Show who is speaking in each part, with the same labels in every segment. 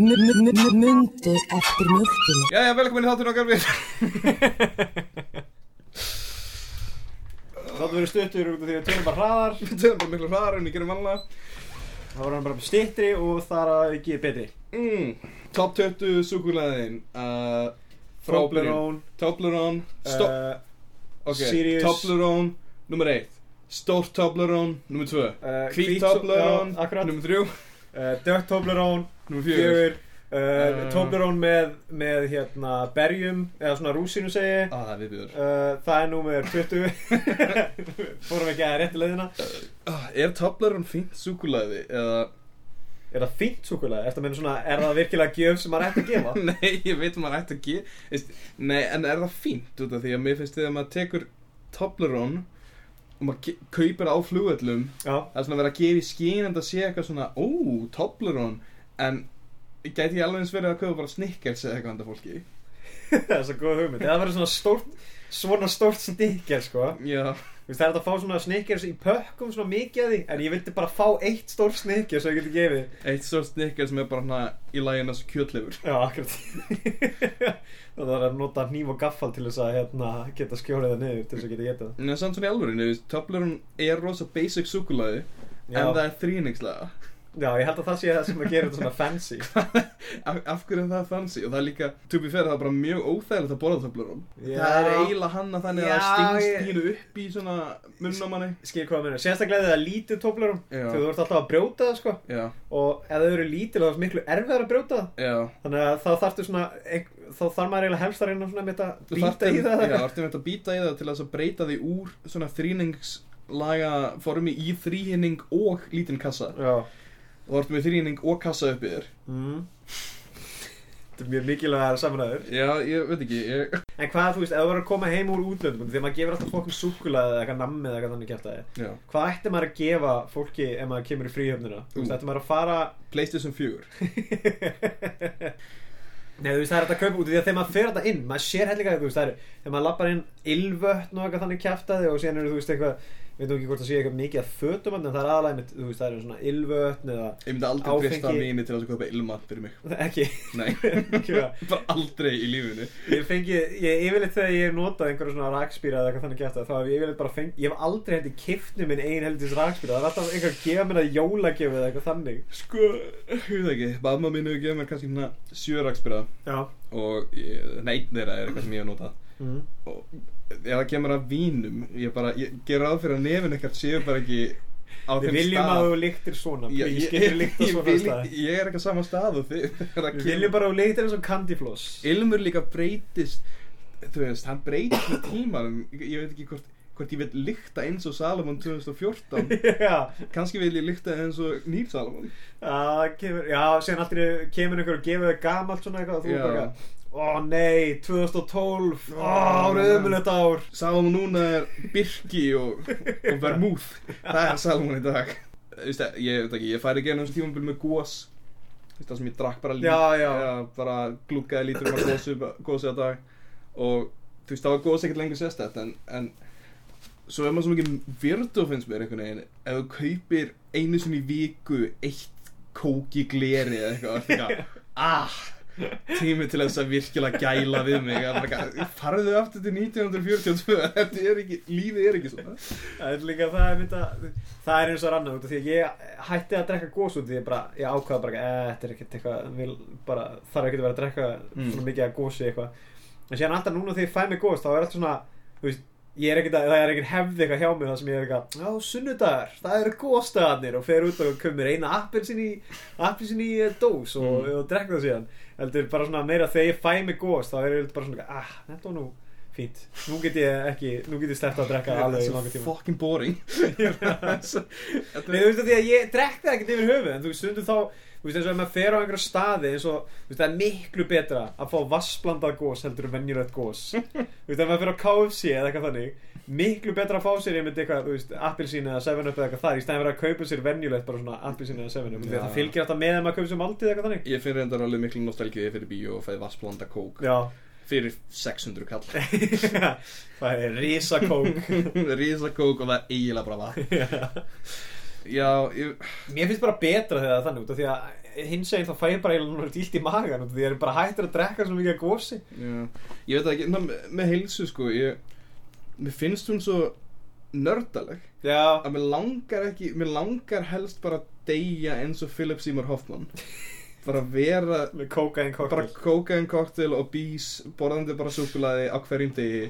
Speaker 1: Mundu eftir mjölkinu
Speaker 2: Jæja, velkomin í þáttun okkar við
Speaker 3: Þáttu verið stuttur út af því að tölum bara hraðar
Speaker 2: Við töðum bara miklu hraðar en ég gerum vanlega
Speaker 3: þá var hann bara stittri og þar að ekki betri
Speaker 2: mm. Top 20 súkulæðin uh,
Speaker 3: Toblerone
Speaker 2: Toblerone Stop
Speaker 3: uh,
Speaker 2: Ok,
Speaker 3: Sirius.
Speaker 2: Toblerone Númer 1 Stórt Toblerone Númer 2
Speaker 3: Eh,
Speaker 2: Hvít
Speaker 3: hvít-
Speaker 2: Toblerone
Speaker 3: já, akkurat.
Speaker 2: Númer 3
Speaker 3: uh, Dögt Toblerone
Speaker 2: Númer 4
Speaker 3: Fjögur uh,
Speaker 2: Eh.
Speaker 3: Toblerone með, með hérna berjum eða svona rúsinu segi ég.
Speaker 2: Ah, það er viðbjör
Speaker 3: uh, Það er númer 20 Fórum ekki að réttu leiðina
Speaker 2: uh, Er Toblerone fínt súkulæði eða
Speaker 3: Er það fínt súkulega? Er það, meina svona, er það virkilega gjöf sem maður ætti að gefa?
Speaker 2: Nei, ég veit að maður ætti að gera veist, Nei, en er það fínt út af því að mér finnst þegar maður tekur Toblerone og maður ge- kaupir á flugöllum
Speaker 3: Já,
Speaker 2: það er svona verið að gefa í skín en það sé eitthvað svona, ó, Toblerone en gæti ég alveg eins verið að köpa bara Snickers eða eitthvað andar fólki
Speaker 3: það er svo góð hugmynd Það verður svona stórt svona stórt stikker sko
Speaker 2: já,
Speaker 3: Þú veist, það er hægt að fá svona snikkers í pökkum svona mikið að því en ég vildi bara fá eitt stór snikker sem ég geti gefið
Speaker 2: eitt svo Snickers sem er bara hana í lægina svo kjötleifur
Speaker 3: Já, akkurat Það er að nota hníf og gaffal til þess að hérna, geta skjórið það niður til þess að geta geta
Speaker 2: en það er samt svona í alvörinu, þú veist, Toblerone er rosa basic súkulaði
Speaker 3: Já.
Speaker 2: en það er þrýningslega
Speaker 3: Já, ég held að það sé það sem að gera þetta svona fancy
Speaker 2: af, af hverju er það fancy og það er líka, to be fair, það er bara mjög óþægilegt að borða Toblerone
Speaker 3: Já.
Speaker 2: það er eiginlega hanna þannig að
Speaker 3: Já,
Speaker 2: það
Speaker 3: ég-
Speaker 2: stingst pínu upp í svona munnamanni
Speaker 3: Skil hvað að minna, sérstaklega þegar það er lítið tóblarum
Speaker 2: Já.
Speaker 3: þegar þú ert alltaf að brjóta það sko
Speaker 2: já,
Speaker 3: og ef þau eru lítil þá er miklu erfiðar að brjóta það
Speaker 2: já
Speaker 3: þannig að þá þarftu svona ein- þá þarf maður eiginlega helst að reyna svona með þetta
Speaker 2: Þú
Speaker 3: býta
Speaker 2: þarft
Speaker 3: í
Speaker 2: um-
Speaker 3: það
Speaker 2: Já, þarftum þetta að býta í það til þess að breyta því úr svona þrýningslaga formi í þrýhinning og lítinn kassa
Speaker 3: Já
Speaker 2: og þarftum við þrýhinning og kassa upp í þér
Speaker 3: mm. Þetta er mjög mikilvægar samræður
Speaker 2: Já, ég veit ekki ég...
Speaker 3: En hvað þú veist, ef þú verður að koma heim úr útlöndum þegar maður gefur alltaf fólkum súkulaði eða eitthvað nammi eða eitthvað þannig kæft
Speaker 2: Já,
Speaker 3: Hvað ætti maður að gefa fólki ef maður kemur í fríhöfnina? Þú veist,
Speaker 2: Ú.
Speaker 3: ætti maður að fara
Speaker 2: Playstation 4
Speaker 3: Nei, þú veist, það er þetta að kaupa út af því að þegar maður fer þetta inn, maður sér hellinga þú veist, það er, þegar maður lappar inn ylvötn og eitthvað þannig kjæftaði og síðan eru, þú veist, eitthvað við veitum ekki hvort það sé eitthvað mikið að fötum en það er aðalega, einmitt, þú veist, það eru svona ylvötn eða
Speaker 2: Ég myndi aldrei trista
Speaker 3: Áfengi.
Speaker 2: vini til þess að köpa ilmat fyrir mig
Speaker 3: ekki,
Speaker 2: Nei,
Speaker 3: ekki það.
Speaker 2: bara aldrei í lífinu
Speaker 3: Ég fengi, ég yfirleitt þegar ég hef notað einhverja svona rakspýra eða eitthvað þannig gæta þá hef ég yfirleitt bara fengi, ég hef aldrei hendi kipnum minn ein heldis rakspýra, það er alltaf einhver að gefa mér að jólagjöfu eða eitthvað þannig
Speaker 2: Sko, ég veit ekki Mamma mín hefur gefið mér kannski hérna sjöraksbyrða
Speaker 3: Já
Speaker 2: og ég- nei, þeirra er eitthvað sem ég hef notað
Speaker 3: mm.
Speaker 2: og ef það kemur að vínum ég bara, ég ger ráð fyrir að nefin ekkert séu bara ekki á
Speaker 3: Við
Speaker 2: þeim
Speaker 3: viljum
Speaker 2: stað
Speaker 3: að þú líktir svona,
Speaker 2: Já,
Speaker 3: please, getur líkt að
Speaker 2: ég,
Speaker 3: svona
Speaker 2: vil-
Speaker 3: stað
Speaker 2: ég er ekki á sama stað og þið þegar það
Speaker 3: Við
Speaker 2: kemur-
Speaker 3: viljum bara að þú líktir eins og candyfloss
Speaker 2: Ilmur líka breytist þú veist, hann breytist með tímanum ég ég veit ekki hvort, hvort ég vil lykta eins og Salomon 2014
Speaker 3: Já,
Speaker 2: kannski vil ég lykta eins og Nýr Salomon
Speaker 3: það kemur, já, síðan allt í einu kemur einhver og gefur þig gamalt svona eitthvað og þú
Speaker 2: Já.
Speaker 3: er bara eitthvað, ó nei, 2012, ó,
Speaker 2: Ó,
Speaker 3: árið ömulegt ár
Speaker 2: Salomon núna er Birki og, og Vermúð það er Salomon í dag Þú veist, ég veit ekki, ég færi ekki ennum tímanbíl með gós Þú veist, það sem ég drakk bara lít
Speaker 3: Já, já.
Speaker 2: bara glúkaði lítur um að gósi á dag og þú veist, það var gósi ekkert lengur sérstætt en, en svo er maður svo mikið virtu finnst mér einhvern veginn ef þú kaupir einu sinni í viku eitt kóki gleri eða eitthvað, það er ah tími til þess að virkilega gæla við mig að bara eitthvað, farðu aftur til 1942 þetta er ekki, lífið er ekki svona
Speaker 3: Það er líka það er mynda, það er eins og rannar út af því að ég hætti að drekka gós út af því ég bara, ég ákvaða bara, eh, þetta er ekkert eitthvað, vil bara, þarf ekkert að vera að drekka
Speaker 2: Mm.
Speaker 3: svona mikið að gósi eitthvað. En síðan alltaf núna þegar ég fæ mig gós, þá er alltaf svona, þú veist, ég er ekkert að, það er ekkert hefði eitthvað hjá mér það sem ég er eitthvað, já, sunnudagar, það eru góstagarnir og fer út og komur eina appelsin í, appelsin í eh, dós og,
Speaker 2: Mm.
Speaker 3: og drekka það síðan. Heldur bara svona meira þegar ég fæ mig gós, þá er ég bara svona, ah, þetta var nú fínt nú get ég ekki, nú get ég sleppt að drekka alveg í langa
Speaker 2: That's
Speaker 3: tíma
Speaker 2: fucking boring Þetta
Speaker 3: Nei,
Speaker 2: er-
Speaker 3: þú veist að því að ég drekk það ekkert yfir höfuð en þú veist, stundum þá, þú veist, eins og ef maður fer á einhverja staði eins og, þú veist, það er miklu betra að fá vassblandað gós heldur en venjurætt gós þú veist, ef maður fer á KFC eða eitthvað þannig miklu betra að fá sér einmitt eitthvað, þú veist, appelsín eða 7-up eða eitthvað þar í stæðan verið að kaupa sér venjulegt bara svona appelsín eða 7-up því
Speaker 2: Já.
Speaker 3: að það fylgir alltaf með að maður kaupa sér maldið eitthvað þannig
Speaker 2: Ég finn reyndar alveg miklu nostalgið þegar ég fyrir bíó og fæði vassblanda kók
Speaker 3: Já,
Speaker 2: fyrir 600 kall
Speaker 3: það er risakók
Speaker 2: Rísa kók og það er eiginlega bara vatn
Speaker 3: Já.
Speaker 2: Já, ég,
Speaker 3: Mér finnst bara betra þegar það er þannig út af því að hins veginn þá fæ ég bara eiginlega núna dýlt í magan út af því að ég er bara hættur að drekka svo mikið að gósi
Speaker 2: já, ég veit það ekki, ná, með, með heilsu sko, ég, mér finnst hún svo nördaleg
Speaker 3: Já,
Speaker 2: að mér langar ekki, mér langar helst bara að deyja eins og Philip Seymour Hoffman bara vera,
Speaker 3: með kókaðin
Speaker 2: bara
Speaker 3: kokkur
Speaker 2: kókaðin koktel og bís, borðandi bara súkulaði á hverjum degi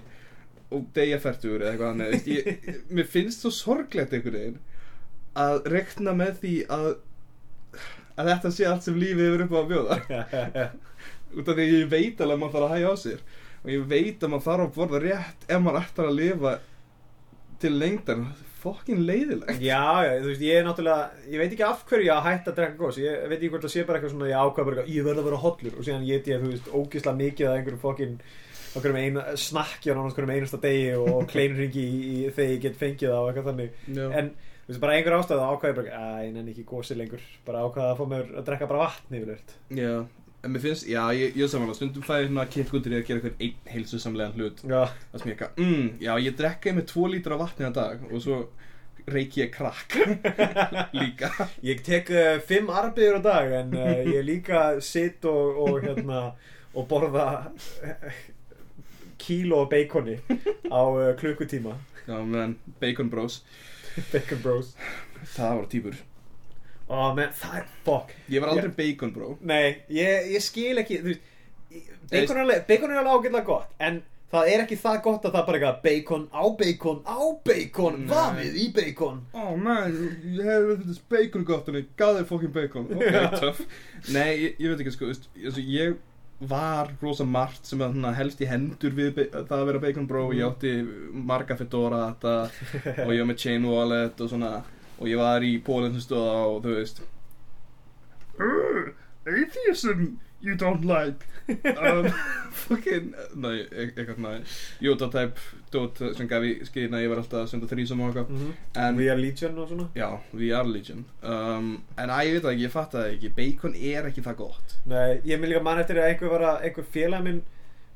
Speaker 2: og deyja færtur eða eitthvað annað Ég- ég- mér finnst svo sorglegt einhvern veginn að rekna með því að að þetta sé allt sem lífið hefur upp á að bjóða út af því að ég veit alveg að maður þarf að hægja á sér og ég veit að maður þarf að borða rétt ef maður ætlar að lifa til lengdar það er fokkin leiðilegt
Speaker 3: Já, já, þú veist, ég er náttúrulega ég veit ekki af hverju ég á að hætta að drekka gósi ég veit ekki hvort það sé bara eitthvað svona ég ákvað bara eitthvað, ég verð að vera hollur og síðan get ég, þú veist, ógisla mikið að einhverjum fokkin okkur um eina snakki á nánast hverjum einasta degi og kleinringi í, í, þegar ég get fengið það og eitthvað þannig
Speaker 2: Já.
Speaker 3: en þú veist, bara einhver ástæðu ákvæði bara, að ég nenni ekki gósi lengur bara ákvæði að fá mér að drekka bara vatn yfirleitt
Speaker 2: já, en mér finnst, já, ég, ég samanlega stundum fæði hérna kikk undir ég að gera eitthvað einn heilsusamlegan hlut
Speaker 3: já,
Speaker 2: það sem ég eitthvað, mm, já, ég drekka með tvo lítra af vatni að dag og svo reiki ég krakk líka
Speaker 3: ég tek uh, fimm arbeður á dag en uh, ég líka sitt og, og hérna og borða eh, kíló af beikoni á uh, klukkutíma
Speaker 2: já, menn, bacon bros,
Speaker 3: bacon bros
Speaker 2: það voru típur
Speaker 3: oh, man, það er fokk
Speaker 2: ég var aldrei bacon bro
Speaker 3: Nei, ég, ég skil ekki þú veist, ég- bacon er alveg, bacon er alveg ágætlega gott en það er ekki það gott að það bara eitthvað bacon á bacon á bacon
Speaker 2: Nei.
Speaker 3: vafið í bacon
Speaker 2: Oh man, ég hefði verið þetta bacon gott en ég gaf þér fokkin bacon Ok,
Speaker 3: Já.
Speaker 2: töff Nei, ég, ég veit ekki sko, veist, ég, ég var rosa margt sem að svona helst í hendur við be- það að vera bacon bro Ég átti marga fedora þetta og ég var með chain wallet og svona og ég var í pólinn sem stóð á, þú veist "Ugh, Uh, Atheism you don't like um, Fucking, nei, e- eitthvað næ Jótatæp, dót sem gaf í skýrna, ég var alltaf að senda þrísum og okkar En-
Speaker 3: We are legion og svona
Speaker 2: Já, VR Legion um, En að ég veit það ekki, ég fatt það ekki Bacon er ekki það gott
Speaker 3: Nei, ég minn líka mann eftir að einhver var að einhver félag minn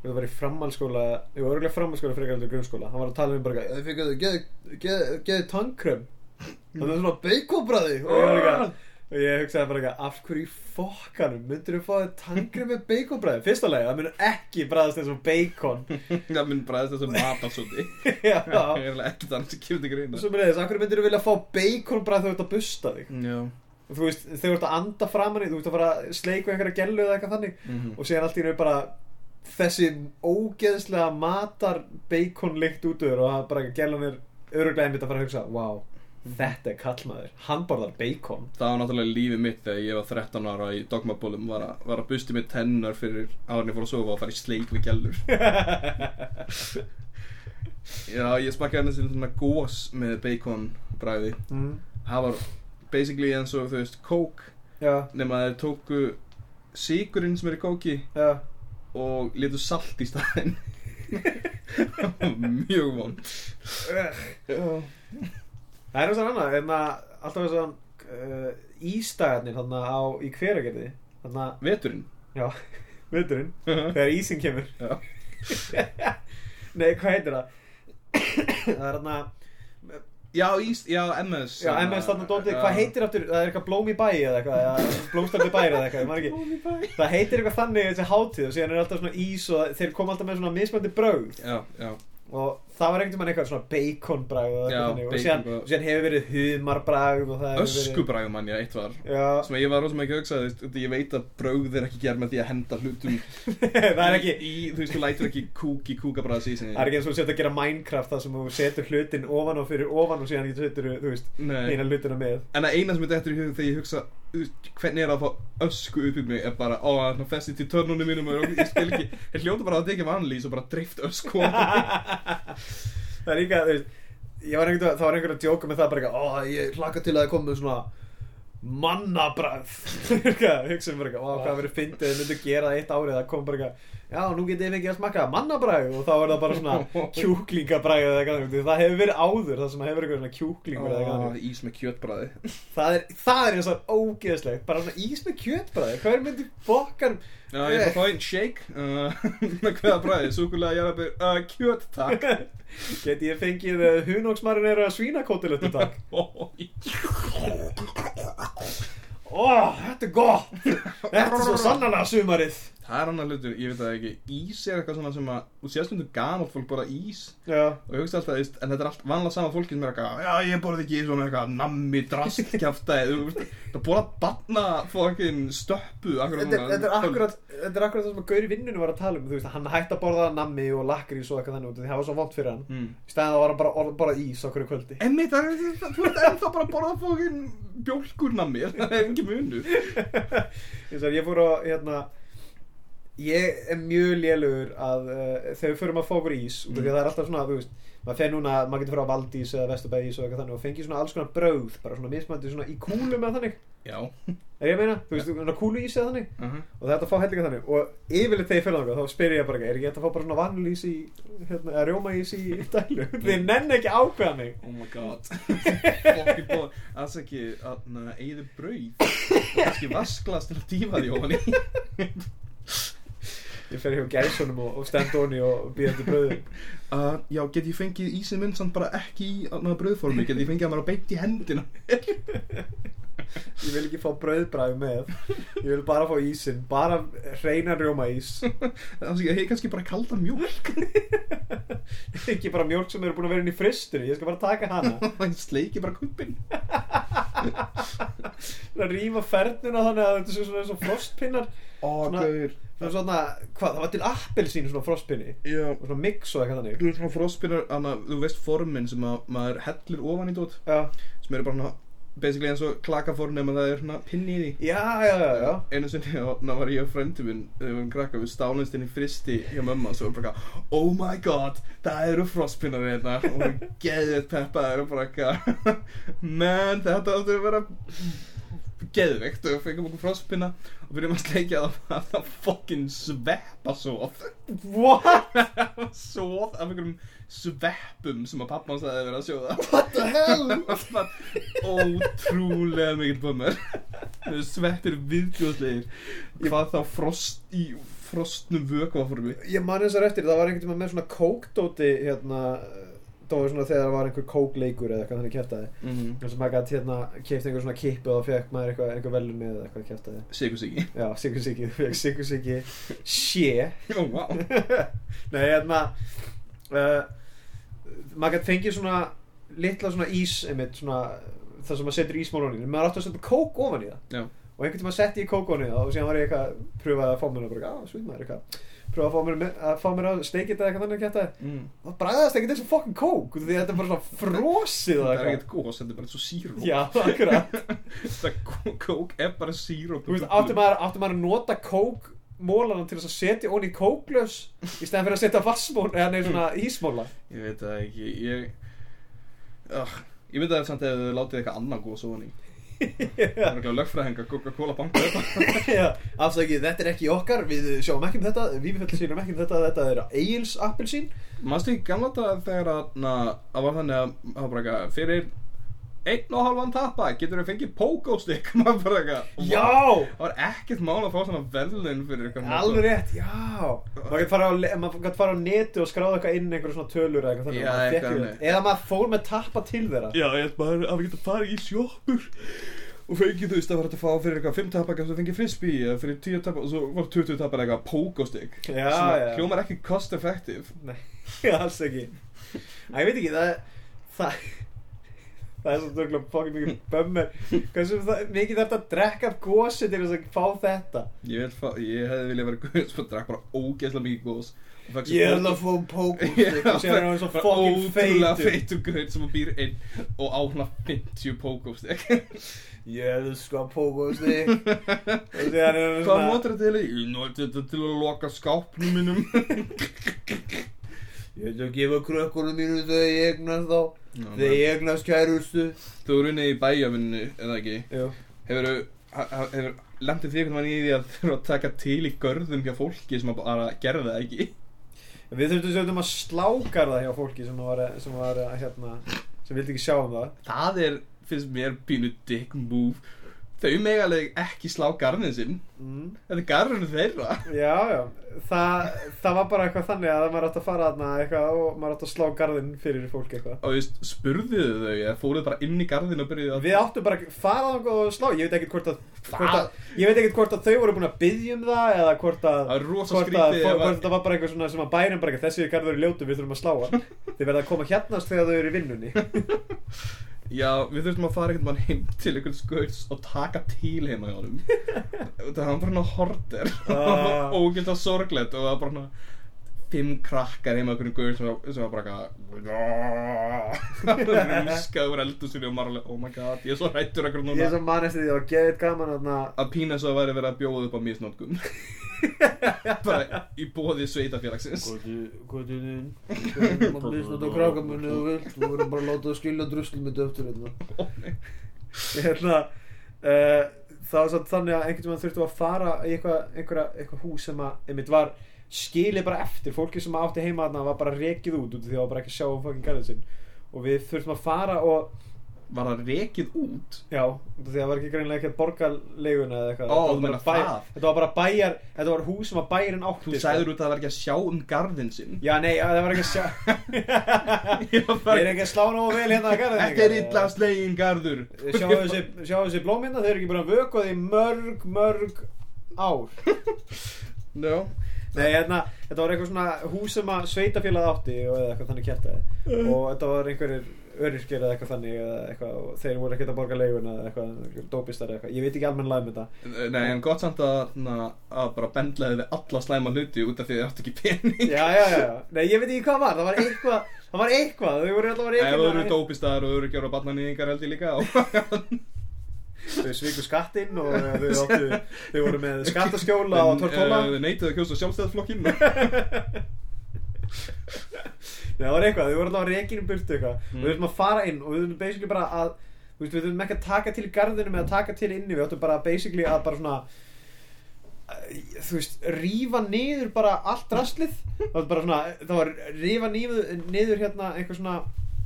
Speaker 3: við var í framhaldsskóla, ég var örgulega framhaldsskóla frekar heldur en grunnskóla, hann var að tala um bara eitthvað, "Ég fikk að geði- geði geði tannkrem þannig að svona beikonbræði og ég var líka og ég hugsaði bara eitthvað, af hverju í fokkanum myndir þú fá þér tannkrem með beikonbræði fyrsta lagi, það myndir ekki bræðast eins og beikon
Speaker 2: Það minn bræðist þessu matasóti Það er
Speaker 3: já,
Speaker 2: eiginlega ekkert annars sem kemur til greina
Speaker 3: svo myndir þess, af hverju myndir þú vilja fá beikonbræði þegar þú ert að busta þig
Speaker 2: Já
Speaker 3: og þú veist, þegar þú ert að anda framan í þú ert að fara að sleiku einhverja gellu eða eitthvað þannig
Speaker 2: Mhm.
Speaker 3: og síðan allt í raun bara þessi ógeðslega matar beikonlykt út úr og það bara gellan er öruglega einmitt að fara að hugsa wow,
Speaker 2: Mhm.
Speaker 3: þetta er kallmaður, hann borðar beikon
Speaker 2: Það var náttúrulega lífið mitt þegar ég var 13 ára í dogmabólum var, að- var að busti með tennar fyrir áðurinn ég fór að sofa og fara í sleik við gælur Já, ég smakkaði henni svona gós með bacon bræði
Speaker 3: mm.
Speaker 2: Það var basically eins og þú veist kók
Speaker 3: já,
Speaker 2: nema þeir tóku sigurinn sem er í kóki
Speaker 3: já
Speaker 2: og letu salt í staðinn Það var mjög vond já
Speaker 3: það er þessan annað, en að alltaf þessan uh, ístæðarnir þarna á, í hveragerði þarna,
Speaker 2: veturinn
Speaker 3: já, veiturinn
Speaker 2: já.
Speaker 3: þegar ísinn kemur nei, hvað heitir það það er þarna
Speaker 2: já, íst, já, hérna. MS
Speaker 3: Já, MS þarna dótið, hvað heitir aftur, það er eitthvað blóm í bæ eða eitthvað, eða blómstandi bæ eða eitthvað, ég maður ekki.
Speaker 2: ekki
Speaker 3: Það heitir eitthvað þannig þessi hátíð og síðan er alltaf svona ís og þeir koma alltaf með svona mismöndi brögð
Speaker 2: já, já,
Speaker 3: og það var einhvern veginn eitthvað svona baconbragð eða
Speaker 2: Já,
Speaker 3: eitthvað þannig og
Speaker 2: bacon
Speaker 3: síðan,
Speaker 2: bragð.
Speaker 3: og síðan hefur verið humarbræð og það hefur verið...
Speaker 2: öskubræðum mann, já, eitt var
Speaker 3: Já,
Speaker 2: sem ég var rosa mikið að hugsa, þú veist, út í- ég veit að brögð er ekki gerð með því að henda hlutum
Speaker 3: það er ekki...
Speaker 2: í, þú veist, þú lætur ekki kúk í kúkabræðs í sinni
Speaker 3: Það er ekki eins og þú setja að gera Minecraft þar sem þú setur hlutin ofan og fyrir ofan og síðan getur setur, þú veist,
Speaker 2: Nei.
Speaker 3: eina hlutina með.
Speaker 2: en að eina sem þetta eftir í hug þegar ég hugsa þú veist, hvernig er það að fá ösku upp í mig er bara, ó, hann festið til törnunum mínum og ég skil ekki, ég hljóta bara að þetta ekki vanlýs og bara dreift ösku á mig.
Speaker 3: það er líka, þú veist ég var einhvern, það var einhvern að djóka með það bara eitthvað, ó, ég hlakka til að það komi svona mannabræð hugsaðum bara eitthvað, ó, hvað verið fyndið þið myndu gera það eitt árið, það kom bara eitthvað já, nú getið þið fengið að smakka mannabræð og þá er það bara svona kjúklingabræð eða eitthvað, þannig. það hefur verið áður það sem hefur verið eitthvað svona kjúklingur
Speaker 2: Ó,
Speaker 3: eða eitthvað
Speaker 2: ís með kjötbræði.
Speaker 3: það er, það er eins og ógeðslegt bara svona ís með kjötbræði, hvað er myndið bokkan
Speaker 2: Já, ég
Speaker 3: Eh.
Speaker 2: er bara fáinn shake, uh, með hvaða bræði, súkulega jarabir, uh, kjöt, takk.
Speaker 3: geti ég fengið hunóksmarinn er að svínakótilötu takk
Speaker 2: Ó,
Speaker 3: ó, þetta er gott þetta er svo sannarlega sumarið
Speaker 2: Það er annar hlutur, ég veit það ekki, ís er eitthvað svona sem að, þú sést stundum gamalt fólk bara ís
Speaker 3: já
Speaker 2: og ég hugsa alltaf, þú veist, en þetta er allt vanlega sama fólki sem er eitthvað, já ég borði ekki svona eitthvað nammi, drast, kjafta það borða batna fokkin stöppu akkurat
Speaker 3: Þetta er,
Speaker 2: núna
Speaker 3: þetta, er akkurat, þetta er akkurat það sem að Gauri vinnunum var að tala um þú veist, hann hætti að borða nammi og lakrís og eitthvað þannig út af því það var svo vont fyrir hann
Speaker 2: Mm.
Speaker 3: í staðin þá var hann bara, orð- bara ís okkur í kvöldi
Speaker 2: Emmi, það er, það- þú ert ennþá bara að borða fokkin bjólkur nammi, það er ekki munur
Speaker 3: Ég sagði, ég fór að hérna, ég er mjög lélugur að uh, þegar við förum að fá okkur ís mm. því að það er alltaf svona, þú veist maður fer núna, maður getur fyrir á Valdís eða Vesturbæís og eitthvað þannig og fengi svona alls konar brögð bara svona mismandi svona í kúlu með þannig
Speaker 2: Já uh
Speaker 3: er ég að meina, þú veist, svona kúlu ís eða þannig
Speaker 2: -huh.
Speaker 3: og þetta fá hellinga þannig og yfirleitt þegar ég fyrir þangað þá spyr ég bara ekki, er ekki hægt að fá bara svona vanilís í hérna, eða rjómaís í dælu þið nenni ekki að ákveða mig
Speaker 2: Oh my god Fokkin bóð, alls ekki, að eigðu brauð og kannski vasklast til að dýfa því ofan í
Speaker 3: ég fer hjá gæsunum og, og stendóni og býðandi bröðu
Speaker 2: Uh, já, get ég fengið ísinn minn samt bara ekki í annað bröðformi, get ég fengið að maður beint í hendina
Speaker 3: ég vil ekki fá bröðbræð með ég vil bara fá ísinn, bara reyna rjómaís
Speaker 2: Það er kannski- hey, kannski bara kalda mjólk
Speaker 3: ekki bara mjólk sem eru búin að vera inn í fristur ég skal bara taka hana
Speaker 2: Það sleiki bara kuppin
Speaker 3: að rýma fernuna þannig að þetta sé svona eins og frostpinnar
Speaker 2: Ó,
Speaker 3: Svona-
Speaker 2: gauður
Speaker 3: svona, svona, hvað, það var til appelsín svona frostpinni
Speaker 2: Já,
Speaker 3: og svona mix og eitthvað þannig
Speaker 2: þú veist svona frospinar, anna, þú veist formin sem að maður hellir ofan í dót
Speaker 3: já,
Speaker 2: sem eru bara hana, basically eins og klakaform nema það er hana pinni í því
Speaker 3: já, já, já, já.
Speaker 2: einu sinni og ná var ég og frendi minn þegar við varum krakka við stálumst inn í fristi hjá mömmu og svo var bara eitthvað, oh my god það eru frostpinnar hérna og við geðið peppaður og bara eitthvað menn þetta áttu að vera geðveikt og við fengum okkur frostpinna og byrjum að sleikja það að það fokkin sveppa svoð
Speaker 3: what
Speaker 2: svoð af einhverjum sveppum sem að pappa hans aðeins verið að sjóða
Speaker 3: What the hell?
Speaker 2: Það var ótrúlega mikill bummer Þau sveppir viðbjóðslegir Hvað þá frost í frostnum vökvaformi
Speaker 3: Ég man eins og eftir, það var einhvern tíma með svona kókdóti hérna, dói svona þegar það var einhver kókleikur eða eitthvað þannig kæftaði
Speaker 2: mm.
Speaker 3: eins og maður gæti hérna, kæft einhver svona kippu og þá fekk maður eitthvað, einhver velun með eða eitthvað kæftaði
Speaker 2: Sigur sigi
Speaker 3: Já, sikursiki, þú fekk sikursiki Sjé
Speaker 2: Ó, vá
Speaker 3: Nei, hérna uh, maður gæti fengið svona litla svona ís, einmitt svona það sem maður setur ísmál ofan í, en maður átti að setja kók ofan í það
Speaker 2: Já
Speaker 3: og einhvern tíma setti ég kókónið og síðan var ég eitthvað að pröfa að fá mér að bara, á, svýt maður eitthvað pröfa að fá mér, með- að fá mér að steikið eða eitthvað þannig að kæta
Speaker 2: mm.
Speaker 3: það bræðast ekkert þessu fucking kók út af því að þetta er bara svona frosið
Speaker 2: Það
Speaker 3: og
Speaker 2: er
Speaker 3: eitthvað
Speaker 2: ekkert gós, þetta er bara eins og síró
Speaker 3: já, akkurat
Speaker 2: Það kó- kók er bara síró
Speaker 3: þú veist, átti maður, átti maður að nota kók mólanum til þess að setja onni í kóklaus í stæðan fyrir að setja vassmól eða neður svona ísmóla
Speaker 2: Ég veit það ekki Ég uh, Ég veit það samt ef þau látið eitthvað annað gós ofan í Það er ekki lögfræðinga Coca-Cola banka þetta
Speaker 3: afsakið, þetta er ekki okkar við sjáum ekki um þetta, við fjöldum sínum ekki um þetta þetta er Egil's appelsín
Speaker 2: Manstu ekki gamla þetta þegar að na, að var þannig að það var bara eitthvað fyrir einn og halvan tappa getur þau fengið pókóstikk maður bara eitthvað vá.
Speaker 3: já,
Speaker 2: það var ekkert mál að fá svona verðlun fyrir eitthvað
Speaker 3: Alveg rétt, já Maður gæti fara, á le- maður gat fara á netu og skráða eitthvað inn einhverjum svona tölur eða eitthvað
Speaker 2: Já,
Speaker 3: þannig maður fékk
Speaker 2: eitthvað
Speaker 3: ju-
Speaker 2: þannig.
Speaker 3: Eða maður fór með tappa til þeirra
Speaker 2: já ég held bara að við getum farið í sjoppur og fengið þú veist að var þetta að fá fyrir eitthvað 5 tappa kannski að fengið frisbee eða fyrir 10 tappa og svo var 20 tappa eitthvað pókóstikk
Speaker 3: Já,
Speaker 2: Svona
Speaker 3: já.
Speaker 2: hljómar ekki cost effective
Speaker 3: Nei, alls ekki Æ, ég veit ekki, það Það það er svo tökulega fokkin mikið bömmur hversu það- mikið þarf að drekka af gósi til þess að fá þetta
Speaker 2: Ég, vil fá, ég hefði viljað vera guð sem drakk bara ógeðslega mikið góðs og fekk svo fokkin-
Speaker 3: ég ætla að fá pókum
Speaker 2: Já,
Speaker 3: og sér er hann svo
Speaker 2: bara
Speaker 3: fokkin
Speaker 2: ótrúlega
Speaker 3: feitur
Speaker 2: feitur guð sem býr inn og á hana 50 pókófstek
Speaker 3: ég elska pókum og sér er
Speaker 2: Hvað
Speaker 3: hann svona
Speaker 2: notar þetta til? Ég notar þetta til að loka skápnum minnum
Speaker 3: ég ætla að gefa krökkunum mínu þegar ég egnast þá þegar
Speaker 2: Þú
Speaker 3: ég egnast kærustu
Speaker 2: eru inni í bæjavinnu, eða ekki
Speaker 3: já
Speaker 2: Hefurðu, ha- ha- hefur lendið því einhvern veginn í því að þurfa að taka til í görðum hjá fólki sem að bara gerði það ekki
Speaker 3: Við þurftum sjöndum að slákar það hjá fólki sem var, sem var hérna, sem vildi ekki sjá um það.
Speaker 2: Það er, finnst mér, pínu dick move Þau megaleg ekki slá garnin sinn
Speaker 3: Mm.
Speaker 2: Þetta er garðurinn þeirra
Speaker 3: Já, já. Þa, það var bara eitthvað þannig að maður átt að fara þarna eitthvað og maður átt að slá garðinn fyrir fólk eitthvað.
Speaker 2: Og þú veist, spurðuðu þau eða fóruðu bara inn í garðin og byrjuðu að
Speaker 3: Við áttum bara að fara þarna og slá. Ég veit ekkert hvort að, hvort
Speaker 2: Hvað?
Speaker 3: að, ég veit ekkert hvort að þau voru búin að byggja um það eða hvort að,
Speaker 2: Það er rosa
Speaker 3: hvort að,
Speaker 2: skrítið
Speaker 3: hvort,
Speaker 2: ef að-
Speaker 3: hvort það var bara eitthvað svona sem að bærum bara eitthvað þessi garður eru ljótu við þurfum að slá hann. Þið verða að koma hérnast þegar þau eru í vinnunni.
Speaker 2: Já, við þurftum að fara einhvern mann heim til einhvern skauts og taka til heima hjá honum Það hann bara hann horter
Speaker 3: Ah.
Speaker 2: og ógild að sorglegt og það var bara hann fimm krakkar heima hjá einhvern gauð sem, var- sem var bara eitthvað rúskaður eldusinu og margulega oh my god, ég er svo hættur ekkur
Speaker 3: Ég
Speaker 2: núna
Speaker 3: er svo mann eftir því að geðið gaman þarna
Speaker 2: að pína svo að væri verið að bjóða upp á misnótkun bara í bóði sveitafélagsins
Speaker 3: Góti þinn Má misnátt á krákamunni og vilt Þú verður bara að láta það skilja druslum mitt eftir hérna
Speaker 2: Ó, nei.
Speaker 3: Hérna uh, Það var samt þannig að einhvern veginn þurftum að fara í eitthvað einhverja, eitthvað hús sem að einmitt var skilið bara eftir fólki sem átti heima þarna var bara rekið út út af því að það var bara ekki að sjá um fucking garðin sinn og við þurftum að fara og
Speaker 2: Var það rekið út?
Speaker 3: Já, út af því að það var ekki greinlega ekki að borga leiguna eða eitthvað
Speaker 2: Ó,
Speaker 3: Þetta var
Speaker 2: þú
Speaker 3: bara
Speaker 2: meinar
Speaker 3: bæ-
Speaker 2: það.
Speaker 3: Þetta var bara bæjar, þetta var hús sem að bæjarinn átti
Speaker 2: Þú
Speaker 3: sko.
Speaker 2: sagður út að það var ekki að sjá um garðin sinn
Speaker 3: Já, nei, já, það var ekki að sjá
Speaker 2: Ég var bara-
Speaker 3: Ég er ekki að slá nógu vel hérna að garðin
Speaker 2: Þetta er illa slegin garður
Speaker 3: Sjáu þessi, sjáu þessi blómynda, þau eru ekki búin að vöku því mörg, mörg ár
Speaker 2: No.
Speaker 3: Nei, hérna, þetta var eitthvað svona hús sem að sveitafélag átti og eða eitthvað þannig kjartaði og þetta var einhverjir öryrkir eða eitthvað þannig eða eitthvað og þeir voru ekkert að borga leiguna eða eitthvað, einhverjir dópistar eða eitthvað, ég veit ekki almennilega um þetta
Speaker 2: Nei, en gott samt að, na, að bara bendlaði við alla slæma hluti út af því að þið áttu ekki pening
Speaker 3: Já, já, já, já. nei, ég veit ekki hvað var, það var eitthvað, það var eitthvað, þau voru alltaf að
Speaker 2: Ef þú eru
Speaker 3: reyna-
Speaker 2: dópistar og þú eru ekki ára barnanýðingar held ég líka og
Speaker 3: Þau svíku skattinn og eh, þau, áttu, þau voru með Eh, skattaskjóla og tortóla
Speaker 2: eh, Þau neituðu að kjósa sjálfstæðsflokkinn
Speaker 3: Nei, það var eitthvað, þau voru alltaf að reikinu burtu eitthvað og
Speaker 2: Mm.
Speaker 3: við þurfum að fara inn og við þurfum basically bara að þú veist, við þurfum ekki að taka til í garðinum eða taka til inni, við áttum bara basically að bara svona að, þú veist, rífa niður bara allt rastlið það var bara svona, það var rífa niður, niður hérna einhver svona,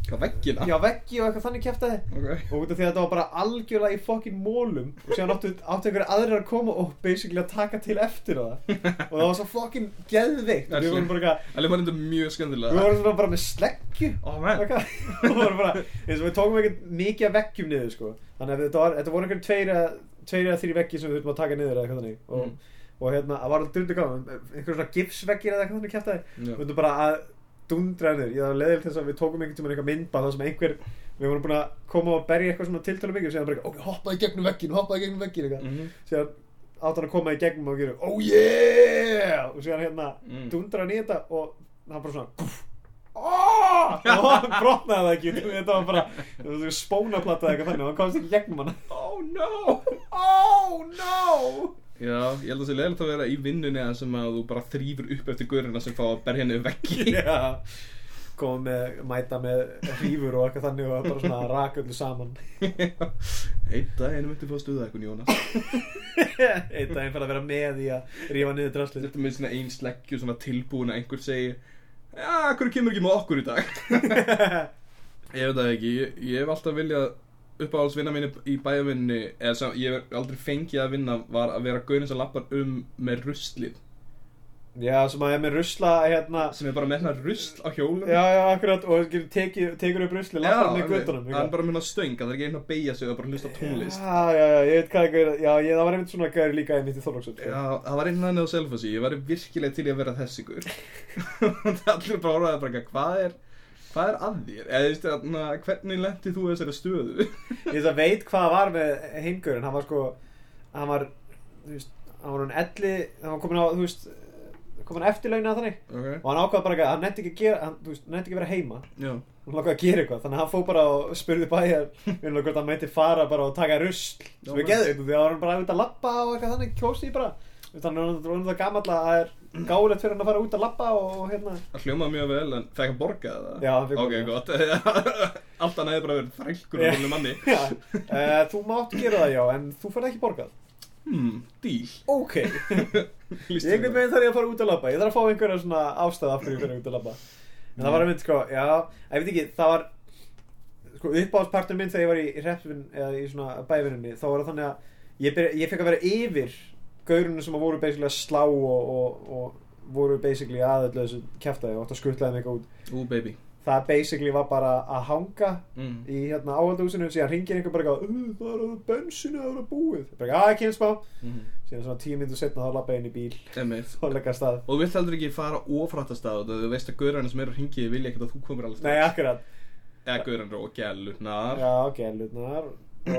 Speaker 2: Hvað veggina?
Speaker 3: já veggi og eitthvað þannig kjæftaði
Speaker 2: Ok
Speaker 3: og út af því að þetta var bara algjörlega í fokkin mólum og síðan áttu, áttu einhverja aðrir að koma og basically að taka til eftir það og það var svo fokkin geðveikt og við vorum bara eitthvað
Speaker 2: Alveg var þetta mjög
Speaker 3: Við
Speaker 2: skemmtilega
Speaker 3: vorum svona bara með sleggju
Speaker 2: Ó, menn.
Speaker 3: Eitthvað. Við vorum bara, eins og við tókum ekkert mikið af veggjum niður sko Þannig að þetta, var, þetta voru einhvern tveir eða tveir eða þrjir veggi sem við þurfum að taka niður eða eitthvað þannig Og,
Speaker 2: Mm.
Speaker 3: og hérna, það var dundu gaman Einhver svona gipsveggir eða eitthvað þannig kjæftaði
Speaker 2: Já.
Speaker 3: Við þurfum bara að dundra niður Ég var leðil þess að við tókum einhvern tímann eitthvað myndbað Það sem einhver, við vorum búin að koma og berja eitthvað svona tiltölu mikið Og segja bara, ok, hoppaði í gegnum veggin, hoppaði í gegnum veggin eitthvað
Speaker 2: Mhm.
Speaker 3: síðan átt hann að koma í gegnum og gera oh yeah og síðan hérna
Speaker 2: Mm.
Speaker 3: dundra hann í þetta og hann bara svona "Kúff." oh! og hann brotnaði það ekki þetta var bara spónaplata eitthvað þannig og hann komst ekki í gegnum hann
Speaker 2: Oh no
Speaker 3: oh no
Speaker 2: Já, ég held að það sé leiðilegt að vera í vinnunni að sem að þú bara þrýfur upp eftir gaurina sem fá að berja henni veggi
Speaker 3: yeah. koma með mæta með hrífur og eitthvað þannig og bara svona raka öllu saman
Speaker 2: Einn daginn myndi fá að stuða eitthvað, Jónas
Speaker 3: eitt daginn fyrir að vera með í að rífa niður draslið
Speaker 2: Þetta með svona ein sleggju svona tilbúin að einhver segi Já, hverju kemur ekki með okkur í dag? ég veit það ekki, ég, ég hef alltaf viljað uppáhaldsvinna minni í bæjavinni eða sem ég hef aldrei fengið að vinna var að vera gauðin sem lappar um með ruslið
Speaker 3: já sem að ég með rusla hérna
Speaker 2: sem er bara með hérna rusl á hjólum
Speaker 3: Já, já, akkurat, og gerir- tekur, tekur upp rusli, lappar með guttunum
Speaker 2: hann er bara með hérna stöng að það er ekki einn að beigja sig og bara hlusta á tónlist
Speaker 3: Já, já, já, ég veit hvað gæri, já, ég, það var einmitt svona gæri líka einmitt í sko. Þorlóksöld
Speaker 2: Já, það var einn þannig á selfasí, ég væri virkilega til í að vera þessi gaur Allir bara orðaði bara eitthvað, hvað er Hvað er að þér? Eða þú veist, þarna, hvernig lendi þú í þessari stöðu?
Speaker 3: Ég veist að veit hvað var með heimgörin Hann var sko Hann var, þú veist, hann var hann elli Hann var komin á, þú veist Komin á eftirlauna þannig
Speaker 2: ok,
Speaker 3: Og hann ákvað bara ekki, hann nefndi ekki að gera Hann, þú veist, nefndi ekki að vera heima
Speaker 2: já,
Speaker 3: Hann lakaði að gera eitthvað Þannig að hann fór bara og spurði bæjar Við erum hvort hann mæti fara bara og taka rusl
Speaker 2: Já,
Speaker 3: Sem við
Speaker 2: bara-
Speaker 3: geðum Því að hann var bara út að labba og eitthvað þannig Kjósi bara Þú veist, Þannig að hann var það gamall að það er gáulegt fyrir hann að fara út að labba og hérna
Speaker 2: það hljómaði mjög vel en fekk hann borgað það?
Speaker 3: Já, hann fékk
Speaker 2: Ok, gott. Allt hann hefði bara verið frælkur
Speaker 3: Já.
Speaker 2: og vilja manni.
Speaker 3: Já, uh, þú mátt gera það já, en þú færð ekki borgað
Speaker 2: Hmm, díl.
Speaker 3: Ok, Ég einhvern veginn þarf ég að fara út að labba Ég þarf að fá einhverja svona ástæða af hverju ég fyrir út að labba En það var einmitt sko, já, ég veit ekki Það var sko, uppáðspartur minn þegar ég var í, í reppin eða í svona bævinunni þá var það þannig að ég, byrja, ég fekk að vera yfir gaurunum sem að voru basically að slá og, og, og voru basically að öllu þessu kjaftaði og átt að skutlaði mig eitthvað út
Speaker 2: Ú, baby.
Speaker 3: það basically var bara að hanga
Speaker 2: Mm.
Speaker 3: í hérna áhaldahúsinu síðan ringir einhver bara eitthvað "Uh, það er að bensinu að vera búið bara, að kynst má
Speaker 2: Mm.
Speaker 3: síðan svona tíu myndu setna þá labba ég inn í bíl
Speaker 2: Einmitt.
Speaker 3: og leggja af stað
Speaker 2: Og þú vilt heldur ekki fara ofrættastað og þú veist að gaurarnir sem eru að ringi vilja ekkert að þú komir alveg
Speaker 3: Nei, akkurat
Speaker 2: Eða gaurarnir og gælurnar.
Speaker 3: Já, gælutnar og,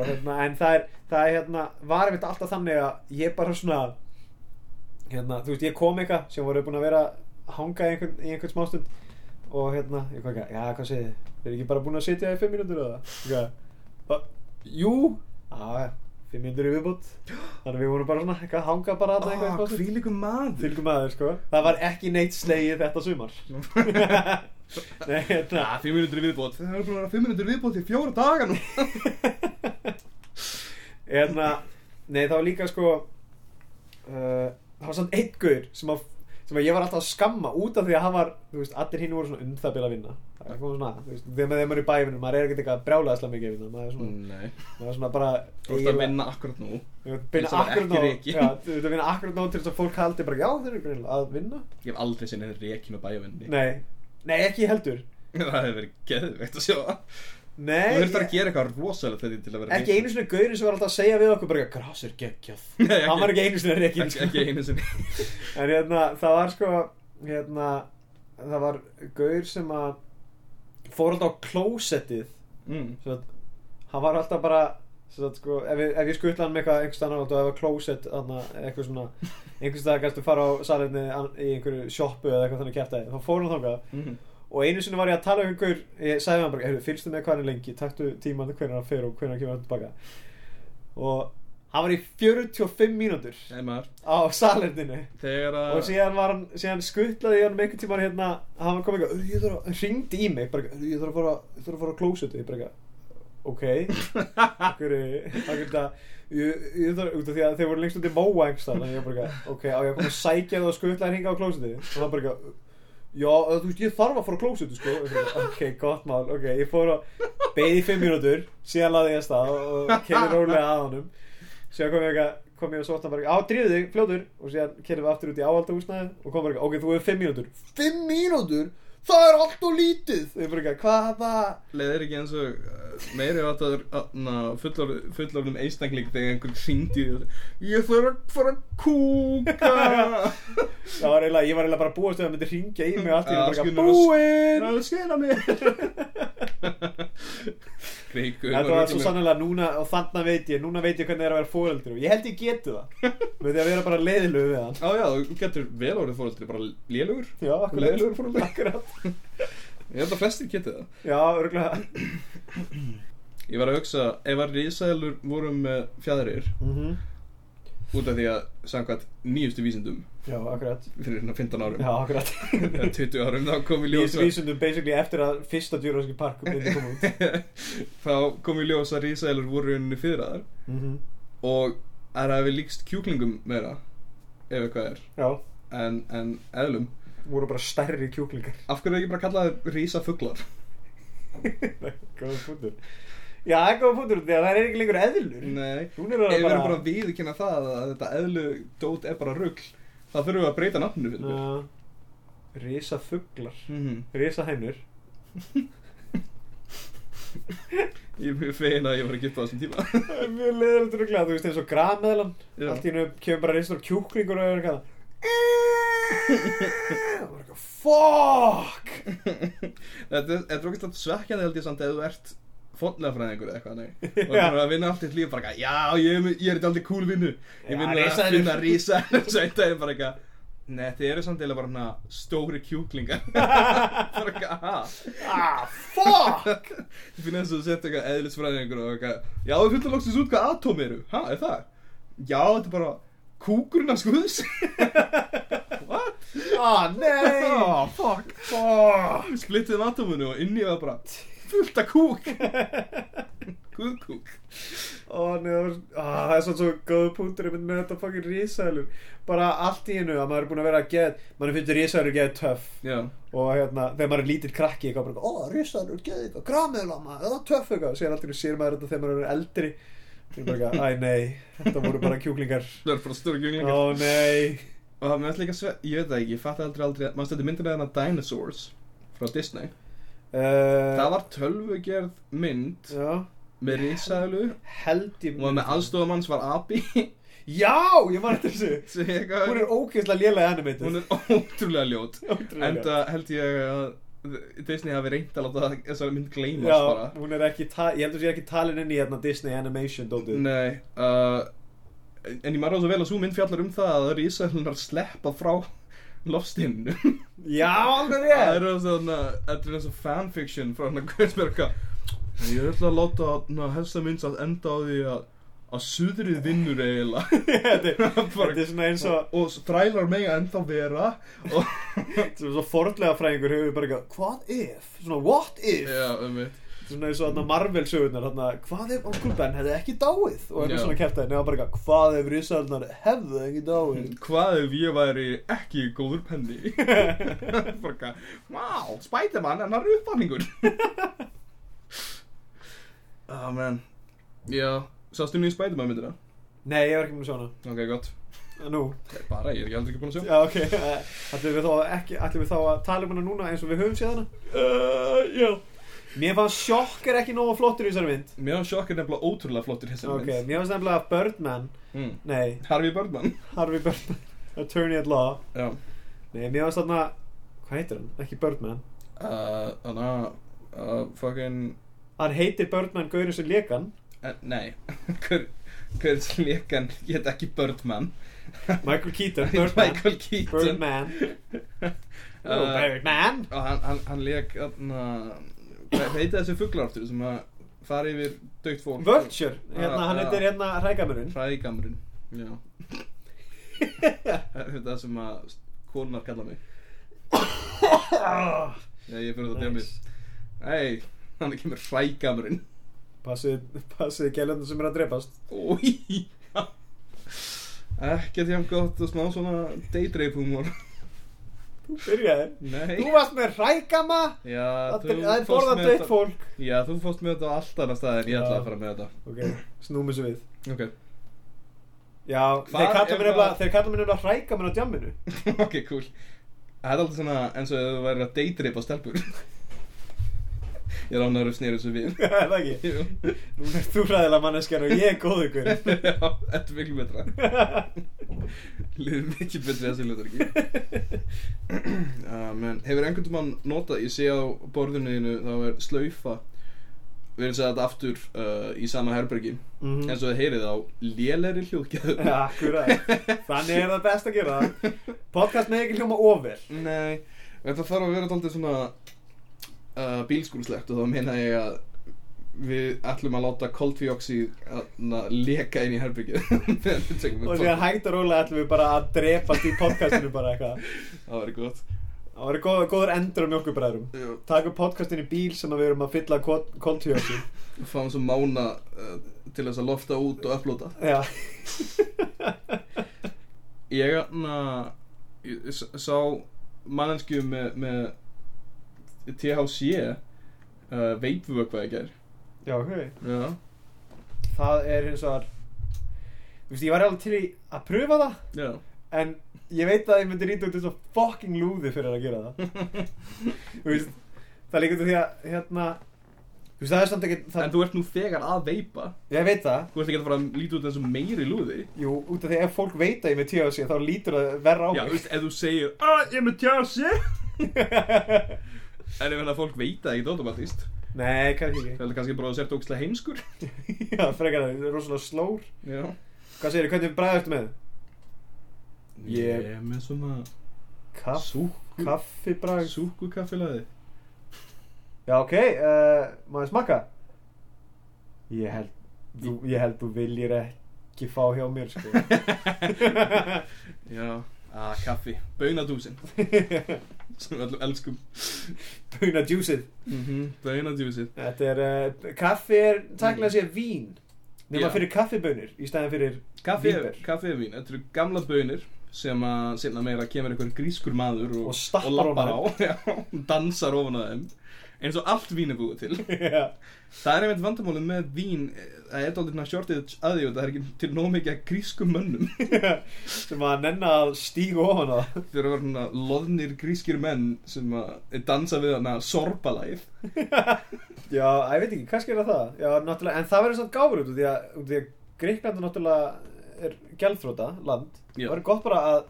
Speaker 3: hérna, En það er, það er hérna Var einmitt alltaf þannig að ég bara svona Hérna, þú veist, ég kom eitthvað sem voru búin að vera að hanga í einhvern, í einhvern smástund Og hérna, ég kom eitthvað Já, hvað segið þið? Þeir ekki bara búin að sitja í fimm mínútur eða? Eitthvað "Ba-
Speaker 2: Jú.
Speaker 3: Já, já, fimm mínútur í viðbútt Þannig að við vorum bara svona eitthvað að hanga bara að
Speaker 2: Ah,
Speaker 3: eitthvað smástund
Speaker 2: hvílíku maður.
Speaker 3: Fylgum aðeins, sko Það var ekki neitt slegið þetta sumar Nei, hérna
Speaker 2: Ah, fimm minútur í viðbót. Það eru búin að vera fimm minútur í viðbót í fjóra daga nú.
Speaker 3: Hérna, nei þá líka sko uh, Það var samt einn guður sem, að- sem að ég var alltaf að skamma út af því að hann var Þú veist, allir hinn voru svona um það bil að vinna Það kom svona, þú veist, þegar maður þegar maður er í bæfinu Maður er ekkert eitthvað brjálaðislega mikið að vinna Maður er svona,
Speaker 2: Nei.
Speaker 3: maður er svona bara
Speaker 2: Mm. Þú ert að vinna akkurat nú.
Speaker 3: Þú ert að vinna
Speaker 2: Eins og maður
Speaker 3: akkurat
Speaker 2: ekki
Speaker 3: nóg
Speaker 2: reki.
Speaker 3: Já, þú ert að vinna akkurat nóg til þess að fólk haldi bara Já, þeir eru greinilega að vinna
Speaker 2: Ég hef aldrei sinni reikin og bæjavinni.
Speaker 3: Nei, nei ekki ég heldur
Speaker 2: Það hefur verið geðveikt að sjá það.
Speaker 3: Nei,
Speaker 2: Þú þurft að
Speaker 3: ég-
Speaker 2: gera eitthvað rosalega þetta til að vera
Speaker 3: ekki einu sinni gaurin sem var alltaf að segja við okkur bara Grás er geggjað
Speaker 2: Nei, ekki-
Speaker 3: Hann var ekki einu sinni sko.
Speaker 2: ekki,
Speaker 3: reikin
Speaker 2: ekki, ekki einu sinni.
Speaker 3: En hérna, það var sko hérna, það var gaur sem að fór alltaf á klósettið
Speaker 2: Mm.
Speaker 3: svo að hann var alltaf bara svo að sko, ef, ég- ef ég skutla hann með eitthvað einhvers annar alltaf, ef það var klósett þarna, eitthvað svona, einhvers staðar kannstu fara á salinni an- í einhverju sjoppu eða eitthvað þannig kjæftæði, þá fór hann þangað
Speaker 2: Mm.
Speaker 3: og einu sinni var ég að tala um einhver ég sagði hann bara, heyrðu, fylgstu með hvað hann er lengi taktu tíman hvernig hann fer og hvernig hann kemur hann tilbaka og hann var í 45 mínútur
Speaker 2: Nei maður,
Speaker 3: á salerninu
Speaker 2: þegar að...
Speaker 3: og síðan var hann, síðan skuttlaði ég hann einhvern tímann hérna, hann var komið eitthvað "Ö, ég þarf að, hringdi í mig, bara eitthvað, "Ö, ég þarf að fara ég þarf að fara á klósetu, ég bara eitthvað ok, okkur okkur það, ég, ég þarf út af því að þeir voru lengst út í móa engst þannig að ég bara eitthvað, ok, á ég að koma að sækja það og skuttlaði hringa á klósetu, og það bara eitthvað já, eða, þú veist, ég þarf að fara á klósetu sko, Ég bara eitthvað, ok, gott mál, ok ég fór að beði fimm mínútur síðan laði ég að stað og kemur rólega að honum síðan kom ég eitthvað kom ég og sótt hann bara, á dríðu þig, fljótur og síðan kerðum við aftur út í áhaldahúsnaði og kom bara, eitthvað, ok, þú hefur fimm mínútur fimm mínútur? Það er allt og lítið og ég bara, eitthvað, hvaða
Speaker 2: Leðir ekki eins og uh, meiri að það fullor, fullorðum einstakling þegar einhver hringdi í þér Ég þarf að fara að kúka
Speaker 3: það var eiginlega, ég var eiginlega bara búast við að það myndi ringja í mig og allt
Speaker 2: Ja,
Speaker 3: í einu bara,
Speaker 2: skilur
Speaker 3: eitthvað,
Speaker 2: þú-
Speaker 3: búinn
Speaker 2: Það er að skera mér Kreikur
Speaker 3: þetta var svo sannlega núna og þannig veit ég, núna veit ég hvernig það er að vera fóreldri og ég held ég geti það með því að vera bara leiðilögu við hann
Speaker 2: Já já, þú getur vel orðið fóröldri, bara lélugur
Speaker 3: já,
Speaker 2: Leiðilegur
Speaker 3: fóreldri akkurat.
Speaker 2: Ég held að flestir geti það
Speaker 3: já, örgulega
Speaker 2: Ég var að hugsa, ef að risaðilur voru með fjæðrir
Speaker 3: mm -hmm.
Speaker 2: út af því að samkvæmt nýjustu vísindum
Speaker 3: já, akkurat
Speaker 2: fyrir hérna 15 árum
Speaker 3: já, akkurat
Speaker 2: eða 20 árum þá kom í ljós
Speaker 3: Nýjast vísundum basically eftir að fyrsta Jurassic Park myndi koma út
Speaker 2: þá kom í ljós að risaðilur voru unni fyrraðar
Speaker 3: mm
Speaker 2: og er að við líkst kjúklingum meira ef eitthvað er
Speaker 3: Já,
Speaker 2: en, en eðlum
Speaker 3: voru bara stærri kjúklingar
Speaker 2: af hverju er ekki bara kallað risafuglar
Speaker 3: Góða punktur Já, það er góða punktur því að það er ekki lengur eðlur
Speaker 2: nei ef
Speaker 3: Hún
Speaker 2: við
Speaker 3: er bara
Speaker 2: erum bara að viðkynna það að þetta eðlu dót er bara rugl þá þurfum við að breyta nafninu fyrir mér
Speaker 3: Já. Risa fuglar
Speaker 2: Mhm.
Speaker 3: Risa hænur
Speaker 2: ég er mjög fegin að ég var að geta á þessum tíma
Speaker 3: Það er mjög leðilegt ruglega, þú veist eins og grameðlan
Speaker 2: Já.
Speaker 3: Allt í hennu kemur bara reistur kjúklingur og er eitthvað og bara eitthvað, fuck
Speaker 2: Þetta er- þetta er okkur svekkjandi held ég samt eða þú ert fónlefræðingur eða eitthvað nei. og
Speaker 3: Já.
Speaker 2: það er að vinna allt í líf bara eitthvað, já, ég, er með- ég er þetta aldrei cool vinnu
Speaker 3: Já,
Speaker 2: ég vinna
Speaker 3: risaeðlur.
Speaker 2: að finna rísa þetta er bara eitthvað Nei, þið eru samt eða bara hana stóri kjúklingar bara eitthvað, ha
Speaker 3: ah, fuck
Speaker 2: Þið finna þess að setja eitthvað eðlisfræðingur og eitthvað Já, við finnum loksins út hvað atóm eru Ha, er það? Já, þetta er bara kúkurinn af skuðs What?
Speaker 3: ah, nei
Speaker 2: Oh, fuck
Speaker 3: fuck
Speaker 2: Splittið um atóminu og inni var bara fullt af kúk Kúkúk
Speaker 3: Ó, neður, á, það er svona svo góð punktur einmitt með þetta fucking risaðlur bara allt í einu að maður er búin að vera að geð maður finnst risaðlur geð töff
Speaker 2: Já,
Speaker 3: og hérna, þegar maður er lítill krakki eitthvað bara, ó, risaðlur geð eitthvað, grameðlama eða töff eitthvað, sér alltaf sér maður þetta þegar maður er eldri og bara, eitthvað, æ, nei þetta voru bara kjúklingar
Speaker 2: það er bara stóri kjúklingar
Speaker 3: ó, nei
Speaker 2: Og það með líka sve... Ég veit það ekki, ég fatt aldrei aldrei Maður stætti myndin að hana Dinosaurs frá Disney Það
Speaker 3: uh,
Speaker 2: var tölvugerð mynd
Speaker 3: já,
Speaker 2: með risaðlu
Speaker 3: held ég
Speaker 2: og með aðstofamanns var Abi
Speaker 3: já, ég man eftir þessu
Speaker 2: Hún
Speaker 3: hún er ógeðslega lélega animated
Speaker 2: Hún er ótrúlega ljót
Speaker 3: Ótrúlega.
Speaker 2: Enda held ég að Disney hafi reynd að láta þessari mynd gleymast
Speaker 3: Já,
Speaker 2: bara
Speaker 3: hún er ekki, ta- ég heldur sé ekki talin inn í hérna Disney Animation dótið
Speaker 2: Nei uh, En ég marra svo vel að svo mynd fjallar um það að Rísælunar sleppa frá lofstinu
Speaker 3: Já, alveg
Speaker 2: Það
Speaker 3: rétt
Speaker 2: eru svona, þetta er eins og fanfiction frá hann að Guðsberga Ég ætla að láta na, helsta mynd að enda á því að að suðrið vinnur eiginlega
Speaker 3: Þetta er-
Speaker 2: Bara-
Speaker 3: þetta er svona eins og
Speaker 2: og þrælar mega ennþá vera og
Speaker 3: svona svo fordlega fræðingur hefur bara eitthvað Hvað if? Svona what if?
Speaker 2: já, um
Speaker 3: Svona eins og þarna Marvel sögurnar þarna, Hvað ef Uncle Ben hefði ekki dáið? Og eitthvað
Speaker 2: Já.
Speaker 3: svona kæftið Nefna bara eitthvað Hvað ef risaðurnar hefðu ekki dáið?
Speaker 2: Hvað ef ég væri ekki góður penni? Fokka, wow, Spiderman, hann er uppfanningur. Ah, man. Já, sástu nýju Spiderman myndina?
Speaker 3: Nei, ég var ekki með svona
Speaker 2: Ok, gott.
Speaker 3: Nú,
Speaker 2: Bara, ég er ekki aldrei ekki búin að sjá.
Speaker 3: já ok Ætlum við þá að ekki, ætlum við þá að tala um hana núna eins og við höfum séð hana?
Speaker 2: Uh, já.
Speaker 3: Mér fannst sjokkar ekki nógu flottur í þessari mynd
Speaker 2: Mér hann sjokkar nefnilega ótrúlega flottir hessar
Speaker 3: Ok,
Speaker 2: mynd.
Speaker 3: mér fannst nefnilega að Birdman
Speaker 2: Mm.
Speaker 3: Nei,
Speaker 2: Harvey Birdman.
Speaker 3: Harvey Birdman Attorney at Law
Speaker 2: Já.
Speaker 3: Nei, mér varst þarna Hvað heitir hann? Ekki Birdman
Speaker 2: Uh, Þannig að, uh, fucking,
Speaker 3: Hann heitir Birdman Gaurinn sem lekan
Speaker 2: uh, nei, hver, hver slékan get ekki Birdman.
Speaker 3: Michael Keaton Birdman
Speaker 2: Michael Keaton.
Speaker 3: Birdman Oh,
Speaker 2: Uh,
Speaker 3: Birdman
Speaker 2: og hann, hann, hann leik þarna hvað heita þessi fuglaraftur sem að fara yfir dögt fólk
Speaker 3: Vulture Hérna,
Speaker 2: Já,
Speaker 3: hann
Speaker 2: já.
Speaker 3: heitir hérna Rækamurinn
Speaker 2: hrægamrun já þetta sem að konar kalla mig
Speaker 3: Ah,
Speaker 2: já, ég fyrir þetta dæmið
Speaker 3: nice.
Speaker 2: ei, hann er kemur hrægamrun
Speaker 3: Passið, passið gælunum sem er að drepast
Speaker 2: ói ekkert hjá gott og smá svona daydreif humor
Speaker 3: Þú byrjaði
Speaker 2: nei
Speaker 3: Þú varst með Rækama
Speaker 2: já,
Speaker 3: Það er- það er
Speaker 2: fórst
Speaker 3: borðan
Speaker 2: með
Speaker 3: deitt
Speaker 2: þetta-
Speaker 3: fólk
Speaker 2: já, þú fórst með þetta á allt annað stað en ég
Speaker 3: Já.
Speaker 2: ætlaði að fara með þetta
Speaker 3: Ok, snúmum svo við
Speaker 2: ok
Speaker 3: Já,
Speaker 2: Hvað
Speaker 3: þeir kalla
Speaker 2: ef
Speaker 3: mér nefnilega
Speaker 2: að-
Speaker 3: Þeir kalla mér nefnilega Rækamun á djamminu
Speaker 2: ok, cool Það er aldrei svona eins og ef þú væri að deytripa stelpur Ég er án að eru snýra þessu við
Speaker 3: Er Það ekki
Speaker 2: Jú.
Speaker 3: Nú er þú ræðilega manneskjan og ég er góðu
Speaker 2: Já,
Speaker 3: guður
Speaker 2: þetta er miklu betra Liður mikið betri þessi hlutur ekki uh, Men hefur einhvern tímann notað Ég sé á borðinu þínu þá er slaufa Við erum segja þetta aftur uh, í sama herbergi
Speaker 3: Mhm.
Speaker 2: eins og þið heyrið á léleri hljóðgjöðu
Speaker 3: Akkurat, þannig er það best að gera það Podcast með ekki hljóma ofvel
Speaker 2: Nei, þetta þarf að vera alltaf svona uh, bílskúlslegt og þá meina ég að við ætlum að láta koltvíóksíð leka inn í herbyggið
Speaker 3: Og síðan hægt og rólega ætlum við bara að drepast í podcastinu bara eitthvað
Speaker 2: Það væri gott
Speaker 3: Það var góð, góður endur á mjölkubræðrum
Speaker 2: Já.
Speaker 3: Takum podcastinu í bíl sem að við erum að fylla koltjósi
Speaker 2: Við fáum svo mána uh, til þess að lofta út og upplóta
Speaker 3: Já
Speaker 2: Ég na, ég s- sá mannenskju með, með THC uh, veipvökva í gær
Speaker 3: Já, ok
Speaker 2: Já,
Speaker 3: Það er hins vegar Þú veist, ég var alveg til í að pröfa það
Speaker 2: já
Speaker 3: En ég veit að ég myndi rýta út eins og fucking lúði fyrir að gera það Þú veist, Það er líka út af því að hérna, Þú veist, það er samt ekki
Speaker 2: En
Speaker 3: það,
Speaker 2: þú ert nú þegar að veipa
Speaker 3: Ég veit það
Speaker 2: Þú ert ekki að fara að líta út eins og meiri lúði
Speaker 3: Jú, út af því ef fólk veit að ég er með THC þá lítur það verra á
Speaker 2: Já, þú
Speaker 3: mig
Speaker 2: veist, ef þú segir Ah, ég er með tjási En ég meina að fólk veit það ekki automatist
Speaker 3: Nei, kannski
Speaker 2: Það er kannski bara að þú sért ógstlega heimskur
Speaker 3: ekki Já, frekar það, það er rosalega slór
Speaker 2: Já
Speaker 3: Hvað segir, hvernig bræðastu með? Ég-
Speaker 2: Ég er með svona
Speaker 3: Kaff,
Speaker 2: Súku
Speaker 3: kaffi bræð
Speaker 2: Súku kaffilaði
Speaker 3: Já, ok, uh, maður smakka Ég held þú, Ég held þú viljir ekki fá hjá mér, sko
Speaker 2: Já Ah, kaffi Baunadúsin Sem við allum elskum
Speaker 3: Buna djúsið
Speaker 2: mm -hmm. Baunadúsið
Speaker 3: Þetta er, uh, kaffi er taklega sér vín Nefna
Speaker 2: Mm. Já.
Speaker 3: fyrir kaffibönir í stæðan fyrir
Speaker 2: Kaffi er,
Speaker 3: Vínber.
Speaker 2: kaffi er vín Þetta eru gamla baunir sem að seinna meira kemur einhver grískur maður og,
Speaker 3: Og stappar
Speaker 2: labbar á
Speaker 3: ofan
Speaker 2: já, dansar ofan að þeim eins og allt vín er búið til
Speaker 3: Já,
Speaker 2: það er einmitt vandamálið með vín eh, það er dálítið svona shortið að því og það er ekki til nóg mikið af grískum mönnum
Speaker 3: sem að nenna að stíga ofan á það.
Speaker 2: þeir eru svona loðnir grískir menn sem að dansa við hana sorbalæð
Speaker 3: Já, ég veit ekki, kannski er það það Já, náttúrulega, en það verður samt gáfur út af því að, út af því að Gríkland er náttúrulega er gjaldþróta land
Speaker 2: Já.
Speaker 3: Það verður gott bara að,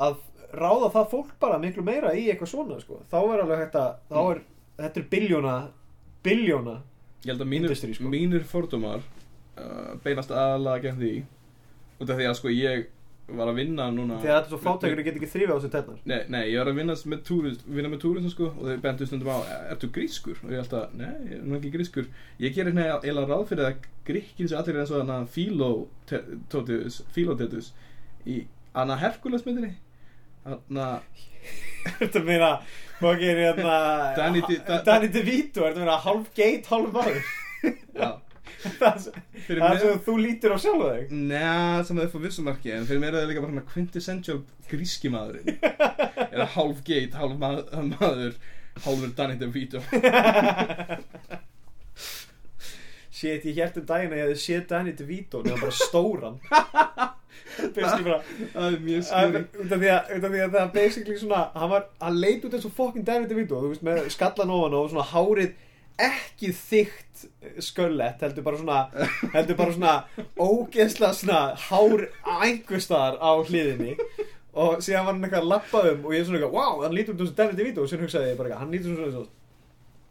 Speaker 3: að ráða það fólk bara miklu meira í eitthvað svona sko. þá er alveg hægt að þá
Speaker 2: Mm.
Speaker 3: er, þetta er biljóna biljóna
Speaker 2: ég held að mínir,
Speaker 3: Industry, sko.
Speaker 2: mínir fordómar uh, beinast aðalega gegn því út af því að sko ég var að vinna núna
Speaker 3: þegar þetta er
Speaker 2: Mm.
Speaker 3: svo fátækur og getur ekki þrýfa á þessu tennar
Speaker 2: Nei, nei, ég var að vinna með túrist, vinna með túrism sko og þeir bentu stundum á, ertu grískur? Og ég held að, nei, ég er nú ekki grískur Ég gerir hérna eiginlega ráð fyrir að gríkkin sem allir er eins og hana Philotetus, Philotetus í hana Herkules myndinni Hana,
Speaker 3: Þetta meina, maður gerir hérna
Speaker 2: Danny Di- Da-
Speaker 3: Danny DeVito, þetta meina hálf geit, hálf maður
Speaker 2: já
Speaker 3: Það er svo-
Speaker 2: Fyrir
Speaker 3: það er
Speaker 2: mér-
Speaker 3: svo þú lítur á sjálfa þig
Speaker 2: Næ, sem það er fyrir vissumarki en fyrir mér er það líka bara hana quintessential gríski maðurinn Eða hálf geit, hálf maður, maður hálfur Danny DeVito
Speaker 3: Shit, ég held um daginn að ég hefði séð Danny DeVito nefnum bara stóran Byrst ég bara
Speaker 2: Það er mjög
Speaker 3: að-
Speaker 2: skýri
Speaker 3: Út af því að út af því að það basically svona Hann var, hann leit út eins og fokkin Danny DeVito Þú veist, með skallan ofan og svona hárið ekki þygt sköllett heldur bara svona heldur bara svona ógeðsla svona hár einhverstaðar á hliðinni og síðan var hann eitthvað að lappa um og ég svona eitthvað, wow, hann lítur út eins og Danny DeVito og síðan hugsaði ég bara eitthvað, hann lítur svona eins og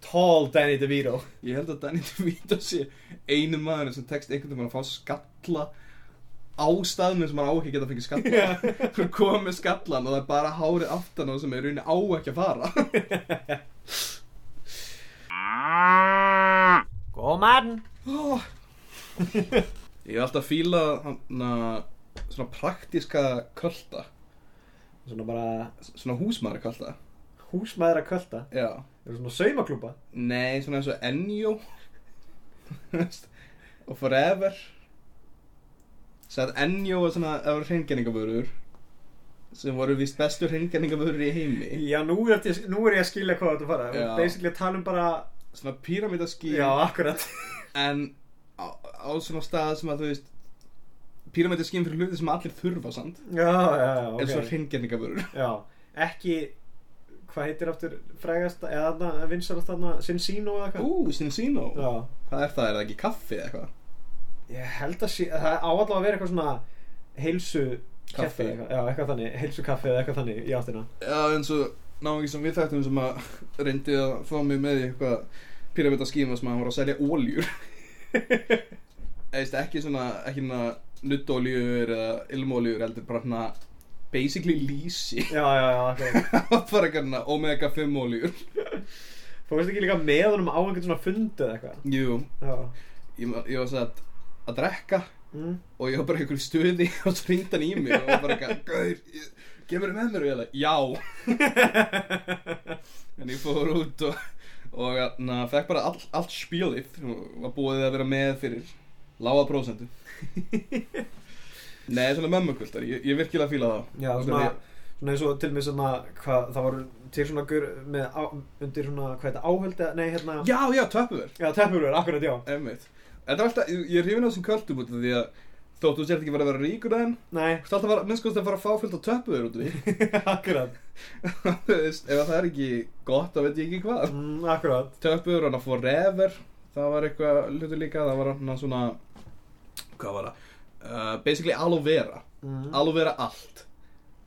Speaker 3: tall Danny DeVito
Speaker 2: Ég held að Danny DeVito sé einu maður sem tekst einhvern veginn að fá skalla á staðnum sem hann á ekki að geta fengið skalla Þú komið með skallan og það er bara hárið aftan á sem er rauninni á ekki að fara
Speaker 3: Góð mann
Speaker 2: oh. Ég hef alltaf fíla hana, svona praktíska költa
Speaker 3: Svona bara
Speaker 2: svona húsmaður költa
Speaker 3: húsmaður að kvölda
Speaker 2: Já
Speaker 3: Það er svona saumaklúpa
Speaker 2: Nei, svona eins og Enjo og Forever Sætt Enjo var svona það voru hreingjæningavörur sem voru vist bestu hreingjæningavörur í heimi
Speaker 3: Já, nú er, ég, nú er ég að skilja hvað þetta fara
Speaker 2: Já.
Speaker 3: Basically að tala um bara
Speaker 2: svona píramidaský
Speaker 3: Já, akkurat
Speaker 2: en á, á svona stað sem að þú veist píramidaskýn fyrir hluti sem allir þurfa samt
Speaker 3: Já, já, já, ok
Speaker 2: eins og hreingjæningavörur
Speaker 3: Já, ekki Hvað heitir aftur frægast eða þarna, vinsar þarna, Sinsino eða hvað
Speaker 2: Ú, Sinsino
Speaker 3: Já,
Speaker 2: Hvað er það, er það ekki kaffi eða eitthvað?
Speaker 3: ég held að sé Það á allavega að vera eitthvað svona heilsu
Speaker 2: Kaffi.
Speaker 3: eða eitthvað- Já, eitthvað þannig, heilsu kaffi eða eitthvað þannig í áttina
Speaker 2: Já, eins og náðum sem við þekktum sem að reyndi að fá mig með í eitthvað pyramidaskíma sem að hann voru að selja óljur Eðist, ekki svona, ekki svona nuttóljur eða ilmóljur heldur bara hérna basically lísi
Speaker 3: Já, já, já, akkurat
Speaker 2: bara eitthvað hérna omega 5 óljur
Speaker 3: Þú veist ekki líka með honum á einhvern svona fundu eða eitthvað
Speaker 2: Jú,
Speaker 3: Já
Speaker 2: ég, ma- ég var satt að drekka
Speaker 3: mm.
Speaker 2: og ég var bara í einhverju stuði og svo ringd hann í mig og var bara eitthvað, gauður, kemur með mér og ég alveg, já en ég fór út og, og na, fekk bara all, allt spjólið og var búið að vera með fyrir lága prósendu Nei, svona mömmukvöldar, ég, ég virkilega fíla það
Speaker 3: Já,
Speaker 2: Út af
Speaker 3: svona,
Speaker 2: því-
Speaker 3: svona eins og til mig svona, hvað, það voru til svona gur, með, á, undir svona, hvað þetta, áhölda, nei, hérna,
Speaker 2: Já, já, töpuver,
Speaker 3: já teppurur, akkurat, já.
Speaker 2: emmitt Þetta er alltaf, ég, ég er hrifin á þessum kvöldum út af því að þóttu þú sért ekki verið að vera ríkur en
Speaker 3: Nei,
Speaker 2: Þú ert alltaf að minnst að fara að fá fullt á töpuver út af því
Speaker 3: akkurat,
Speaker 2: Þú veist, Ef það er ekki gott, þá veit ég ekki hvað
Speaker 3: mm, akkurat,
Speaker 2: töpur, hann að forever það var eitthvað hlutur líka það var hann svona hvað var það uh, basically aloe vera
Speaker 3: Mm.
Speaker 2: aloe vera allt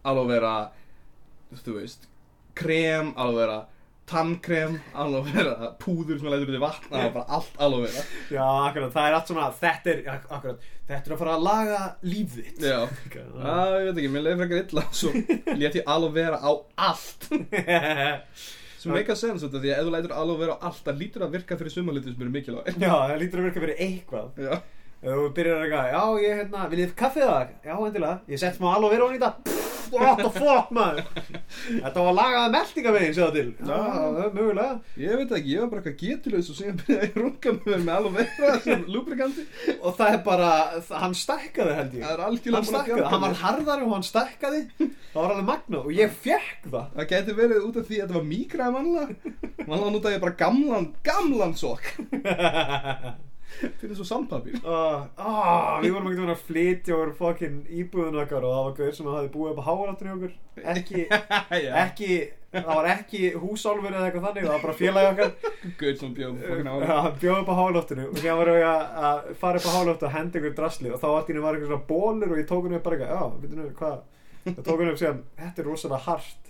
Speaker 2: aloe vera þú veist krem aloe vera tannkrem aloe vera púður sem að lætur út í vatna það var bara allt aloe vera
Speaker 3: Já, akkurat, það er allt svona Þetta er, ak- akkurat, þetta er að fara að laga líf þitt
Speaker 2: já
Speaker 3: Já.
Speaker 2: Ah, ég veit ekki, mér leiði frekar illa svo lét ég aloe vera á allt sem
Speaker 3: Já.
Speaker 2: meika sens þetta því að ef þú lætur aloe vera á allt það lítur að virka fyrir sumarlítið sem eru mikilvæg
Speaker 3: Já, það lítur að verka fyrir eitthvað
Speaker 2: já,
Speaker 3: Ef Þú byrjar að eitthvað, já, ég, hérna, viljið þið kaffið það? Já, endilega, ég sett smá alveg verið á nýta What the fuck, maður Þetta var lagaði meldingavegin, séða til Já, það er mögulega
Speaker 2: ég veit ekki, ég var bara eitthvað getulegs og síðan byrjaði ég að runga með mér með aloe vera sem lubrikandi
Speaker 3: Og það er bara, það- hann stækkaði held ég
Speaker 2: það er algjörlega búin að
Speaker 3: Hann stækkaði,
Speaker 2: bjarga
Speaker 3: hann var
Speaker 2: mér.
Speaker 3: harðari og hann stækkaði Það var alveg magnað og ég fekk það
Speaker 2: það geti verið út af því að þetta var mígra mannlega mannlega notaði ég bara gamlan, gamlan sokk fyrir svo sandpapir
Speaker 3: Uh, oh, við vorum ekki að flytja og fokkin íbúðun okkar og það var gaur sem hafði búið upp á háalatri okkur ekki, ekki, það var ekki húsálfur eða eitthvað þannig, það var bara félagi okkar
Speaker 2: gauð sem bjóð fokkin á
Speaker 3: Já, hann bjóð upp á háloftinu og síðan varum við að- að fara upp á háloftu og henda ykkur drasli og þá allt í henni var eitthvað svona bólur og ég tók henni upp bara eitthvað, já, veitum við hvað og tók henni upp síðan, þetta er rosalega hart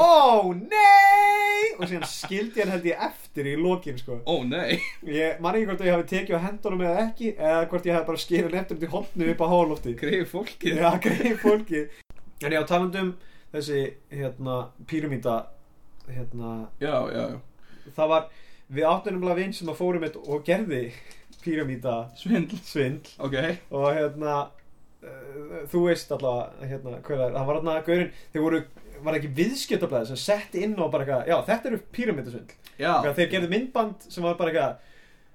Speaker 3: Ó, nei! Og síðan skildi hann held ég eftir í lokin, sko
Speaker 2: ó nei
Speaker 3: Ég man ekki hvort að ég hafi tekið á hendunum eða ekki eða hvort ég hafi bara skilin eftir út í hotnu upp á hálofti
Speaker 2: greið fólkið
Speaker 3: Já, greið fólki En já, talandum þessi hérna, píramíta hérna,
Speaker 2: já, já, já.
Speaker 3: það var við áttum nefnilega vinn sem að fórum eitt og gerði píramíta
Speaker 2: svindl
Speaker 3: svindl
Speaker 2: ok,
Speaker 3: og hérna eh, þú veist allavega hérna, hver það er, það var hérna gaurinn, þeir voru var ekki viðskjötablaði sem sett inn og bara eitthvað, já þetta eru píramítasvindl
Speaker 2: já
Speaker 3: ah. þeir gerðu myndband sem var bara eitthvað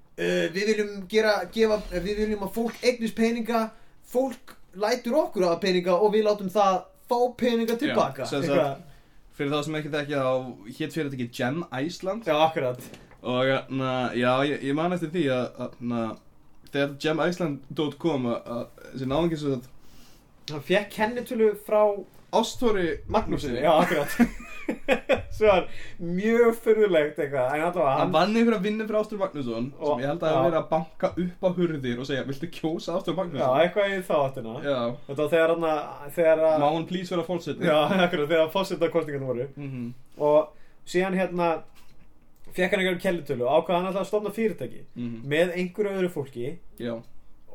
Speaker 3: uh, við viljum gera, gefa eh, við viljum að fólk eignist peninga fólk lætur okkur að peninga og við látum það fá peninga tilbaka
Speaker 2: sem sagt-
Speaker 3: Eitthvað.
Speaker 2: fyrir þá sem ekki þekkja þá hétt fyrir þetta ekki Gem Iceland
Speaker 3: já, akkurat
Speaker 2: Og hérna, já, ég, ég man eftir því að, hérna, þegar gemiceland.com að, að þessi náðingi svo að
Speaker 3: hann fekk kennitölu frá
Speaker 2: Ástóri
Speaker 3: Magnúsinni, já, akkurat Svo var mjög fyrðulegt eitthvað En allavega
Speaker 2: hann
Speaker 3: hann
Speaker 2: vann ykkur að vinna fyrir Ástóri Magnússon
Speaker 3: Og-
Speaker 2: sem ég held að hafa
Speaker 3: já.
Speaker 2: verið að banka upp á hurðir og segja, viltu kjósa Ástóri
Speaker 3: Já,
Speaker 2: Magnússon?
Speaker 3: eitthvað í þá áttina
Speaker 2: Já,
Speaker 3: Þetta var þegar hann að- Þegar
Speaker 2: má
Speaker 3: að
Speaker 2: hann please vera fórsetni?
Speaker 3: Já, akkurat, þegar fósitakostingarnir voru
Speaker 2: Mhm.
Speaker 3: Og síðan hérna Fekk hann eitthvað kellutölu og ákvað hann alltaf að stofna fyrirtæki
Speaker 2: Mhm.
Speaker 3: Með einhverju öðru fólki
Speaker 2: Já,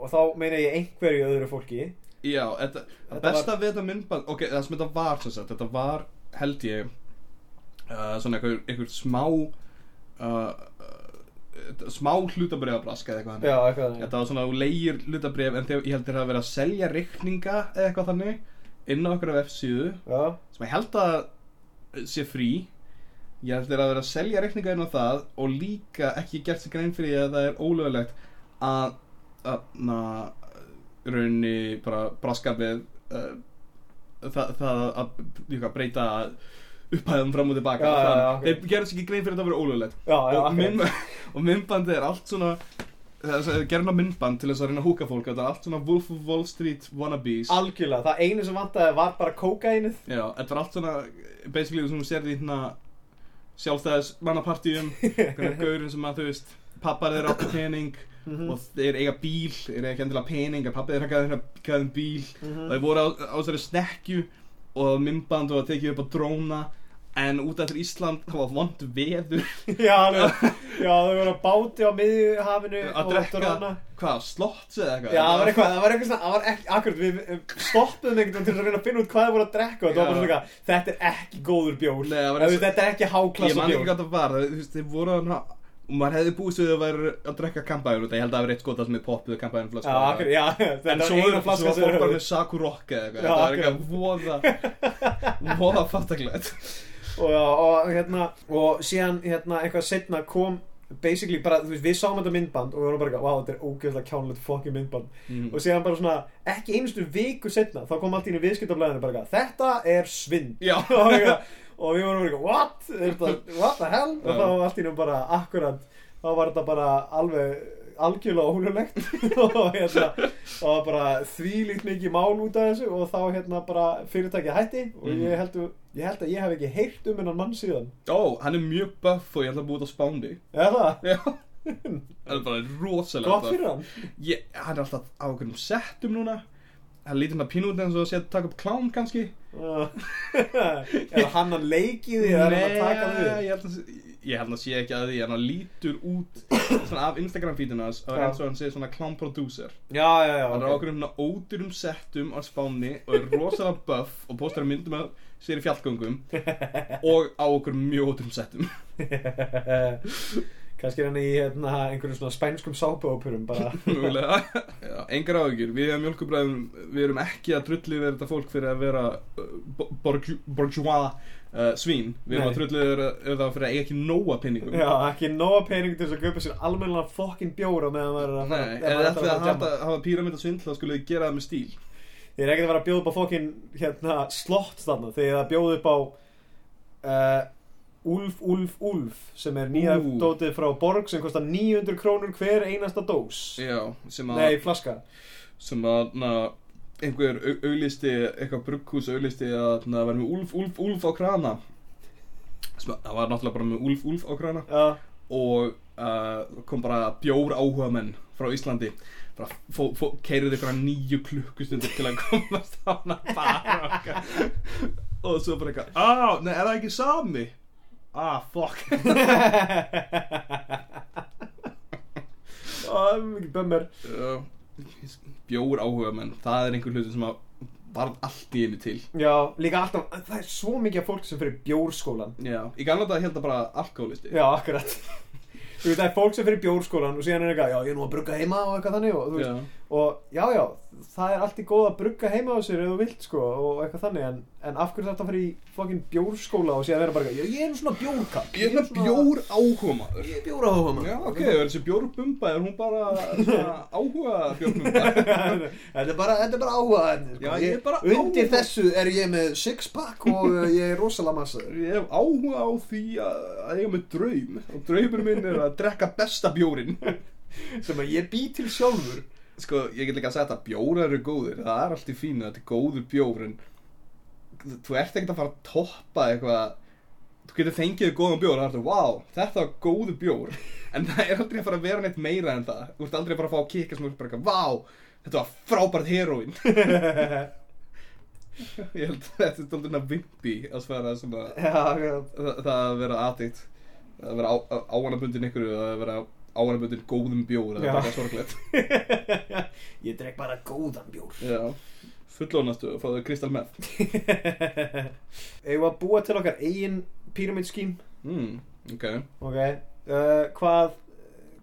Speaker 3: Og þá meina ég einhverju öðru fólki
Speaker 2: já, þetta,
Speaker 3: Þetta
Speaker 2: þetta besta við þetta myndband, ok, það sem þetta var sem sagt, þetta var, held ég, uh, svona einhver, einhver smá, uh, uh, smá hlutabriðabrask eða eitthvað hann.
Speaker 3: Já, eitthvað þannig
Speaker 2: Mm. Þetta var svona þú leigir hlutabrif en þegar ég held þeir hafa verið að selja reikninga eða eitthvað þannig inn á okkur af F-síðu
Speaker 3: Já,
Speaker 2: sem ég held að sé frí ég held þeir hafa verið að selja reikninga inn á það og líka ekki gert sér grein fyrir því að það er ólögulegt að að na, raunni bara braska við uh, það, það að líka, breyta upphæðum fram og tilbaka
Speaker 3: Já, já, já, ok.
Speaker 2: þeir gerðu sér ekki grein fyrir þetta að vera ólögulegt
Speaker 3: já, já,
Speaker 2: og,
Speaker 3: akkurat
Speaker 2: mynd, og myndbandið er allt svona gerna myndband til þess að reyna að húka fólk þetta er allt svona Wolf of Wall Street wannabes
Speaker 3: Algjörlega, það einu sem vantaði var bara kókainið
Speaker 2: já, þetta er allt svona basically sem þú sérði hérna sjálfstæðis mannapartíum hvernig gaurin sem að þú veist pappar þeir áttu pening
Speaker 3: Mhm.
Speaker 2: og þeir eiga bíl, þeir eiga ekki endilega pening að pappi þeir hakaði þeirra gæðum bíl
Speaker 3: Mhm.
Speaker 2: og þeir voru á, á þessari snekkju og myndband og það tekið upp á dróna en út eftir Ísland það var vond veður
Speaker 3: Já, alveg. já, þau voru að báti á miðjuhafinu
Speaker 2: að drekka, hvað, slott eða eitthvað
Speaker 3: Já, það var eitthvað, það var eitthvað svona, það var ekki, akkurat, við eh, stoppuðum einhvern veginn til þess að reyna að finna út hvað þið voru að drekka og það var bara
Speaker 2: Já.
Speaker 3: svona eitthvað, þetta er ekki góður bjór,
Speaker 2: Nei, það var
Speaker 3: Eða,
Speaker 2: eins og-
Speaker 3: þetta er ekki
Speaker 2: Ég
Speaker 3: háklassa
Speaker 2: man ekki
Speaker 3: bjór.
Speaker 2: hvað það var, það- þú veist, þeir voru hana og maður hefði búist við að væri að drekka kampæður út, af- ég held að það var eitt skotað sem er poppuð kampæðin
Speaker 3: Já, akkurat, já, þetta
Speaker 2: En
Speaker 3: er
Speaker 2: svo
Speaker 3: eina
Speaker 2: eru- svo
Speaker 3: flaska
Speaker 2: var
Speaker 3: sem
Speaker 2: fólk
Speaker 3: þeir
Speaker 2: bara
Speaker 3: höfðu.
Speaker 2: með sakurokka eða eitthvað,
Speaker 3: Já,
Speaker 2: það var eitthvað voða, voða fattaklætt
Speaker 3: Og, og hérna, og síðan, hérna, eitthvað setna kom, basically bara, þú veist, við sáum þetta myndband og við vorum bara eitthvað, wow, þetta er ógeðslega kjánlegt fokkin myndband.
Speaker 2: Mhm.
Speaker 3: Og síðan bara svona, ekki einustu viku setna, þá kom allt í einu viðskiptablaðinu bara eitthvað, þetta er svind.
Speaker 2: Já,
Speaker 3: og, eitthvað, og við vorum bara eitthvað, what? Er þetta- what the hell og
Speaker 2: Já.
Speaker 3: þá var allt í nefnum bara akkurat þá var þetta bara alveg algjörlega ólulegt og hérna það var bara þvílíkt mikið mál út af þessu og þá hérna bara fyrirtækið hætti og
Speaker 2: Mhm.
Speaker 3: ég, held, ég held að ég hef ekki heyrt um hennan mann síðan
Speaker 2: ó, hann er mjög buff og ég ætla að búið út á spándi
Speaker 3: eða það?
Speaker 2: Já, Það er bara rosalega
Speaker 3: Gott fyrir hann
Speaker 2: ég, Hann er alltaf á einhverjum settum núna Hann lítur hann að pínu út eins og að setja taka upp klám kannski
Speaker 3: Er hann að leiki því eða er hann að taka því
Speaker 2: ég held að ég held að sé ekki að því en hann lítur út svona af Instagram feedinu hans og
Speaker 3: Já.
Speaker 2: eins og hann segir svona clown producer
Speaker 3: Já, já, já
Speaker 2: hann er
Speaker 3: ok.
Speaker 2: okkur um svona ódýrum settum á spáni og er rosalega buff og postar myndum að sér í fjallgöngum og á okkur mjög ódýrum settum
Speaker 3: Kannski er hann í hérna, einhverjum svona spænskum sápuóperum bara
Speaker 2: mögulega Já, engar áhyggjur, við erum mjölkubræðum við erum ekki að trulli verið þetta fólk fyrir að vera uh, bo- borgju- bourgeois uh, svín, við erum
Speaker 3: Nei.
Speaker 2: að trulli verið það fyrir að eiga ekki nóa pinningum
Speaker 3: Já, ekki nóga pening til þess að kaupa sér almennilega fokkin bjóra meðan maður er að
Speaker 2: Nei,
Speaker 3: ef
Speaker 2: ef
Speaker 3: maður
Speaker 2: þið ætlið
Speaker 3: ætlar
Speaker 2: að
Speaker 3: fara jamma.
Speaker 2: hafa, hafa píramida svindl þá skulle þið gera það með stíl
Speaker 3: Ég er ekkert að vera að bjóða upp á fokkin hérna, slott þarna þegar það bjóða upp á uh, Úlf, Úlf, Úlf sem er nýja
Speaker 2: Ú.
Speaker 3: dótið frá Borg sem kostar 900 krónur hver einasta dós
Speaker 2: Já, sem að,
Speaker 3: Nei, flaska
Speaker 2: sem að na, einhver au- auglisti, eitthvað brugghús auglisti að na, vera með úlf, úlf, úlf á krana sem að, það var náttúrulega bara með úlf, úlf á krana
Speaker 3: Já,
Speaker 2: og uh, kom bara bjór áhuga menn frá Íslandi bara fó, fó, keirið ykkur að nýju klukkustundir til að komast á hana bara okkar. og svo bara eitthvað, á, nei, er það ekki sami? Ah, fuck
Speaker 3: það er mikið bömmir
Speaker 2: Já, bjór áhuga menn það er einhver hluti sem að varð allt í einu til
Speaker 3: Já, líka alltaf, það er svo mikið af fólk sem fyrir bjórskólan
Speaker 2: Já. í gamla dag held það bara alkoholisti
Speaker 3: Já, akkurat Þú veist, það er fólk sem fyrir bjórskólan og síðan er eitthvað, já, ég er nú að brugga heima og eitthvað þannig og þú veist,
Speaker 2: Já.
Speaker 3: og já, já, það er allt í góð að brugga heima á sér ef þú vilt, sko, og eitthvað þannig en, en af hverju þetta fyrir í fokkin bjórskóla og síðan vera bara, eitthvað, já, ég er nú svona bjórkall
Speaker 2: ég er með
Speaker 3: svona-
Speaker 2: bjór áhuga maður
Speaker 3: Ég er bjóra áhuga
Speaker 2: Já, ok, það er þessi bjórbumba, er hún bara svona áhuga bjórbumba?
Speaker 3: þetta er bara, þetta er bara áhuga efni, sko.
Speaker 2: Já, ég er bara
Speaker 3: Undir
Speaker 2: áhuga-
Speaker 3: þessu er ég með six pack og uh, ég er rosalega massaður
Speaker 2: Ég hef áhuga á því að, að ég hef með draum og draumur minn er að drekka besta bjórin.
Speaker 3: sem að ég bý til sjálfur
Speaker 2: Sko, ég get líka að segja þetta, bjórar eru góðir, það er allt í fínu, þetta er góður bjór, en þú ert ekkert að fara að toppa eitthvað, þú getur fengið þér góðan bjór og það er þetta, wow, þetta var góður bjór, en það er aldrei að fara að vera neitt meira en það, þú ert aldrei að fara að fá að kikka sem þú ert bara eitthvað, wow, þetta var frábært heroin. ég held að þetta er stoltuna vimpi að svara svona...
Speaker 3: Já, já,
Speaker 2: það það að vera addict að vera áanabundin ykkur að vera áanabundin góðum bjór það
Speaker 3: Já.
Speaker 2: er bara sorglegt
Speaker 3: ég dreg bara góðan bjór
Speaker 2: Já. fullónastu og fáðu kristal með
Speaker 3: Eigum við að búa til okkar eigin pyramid scheme
Speaker 2: mm, ok
Speaker 3: Ok uh, Hvað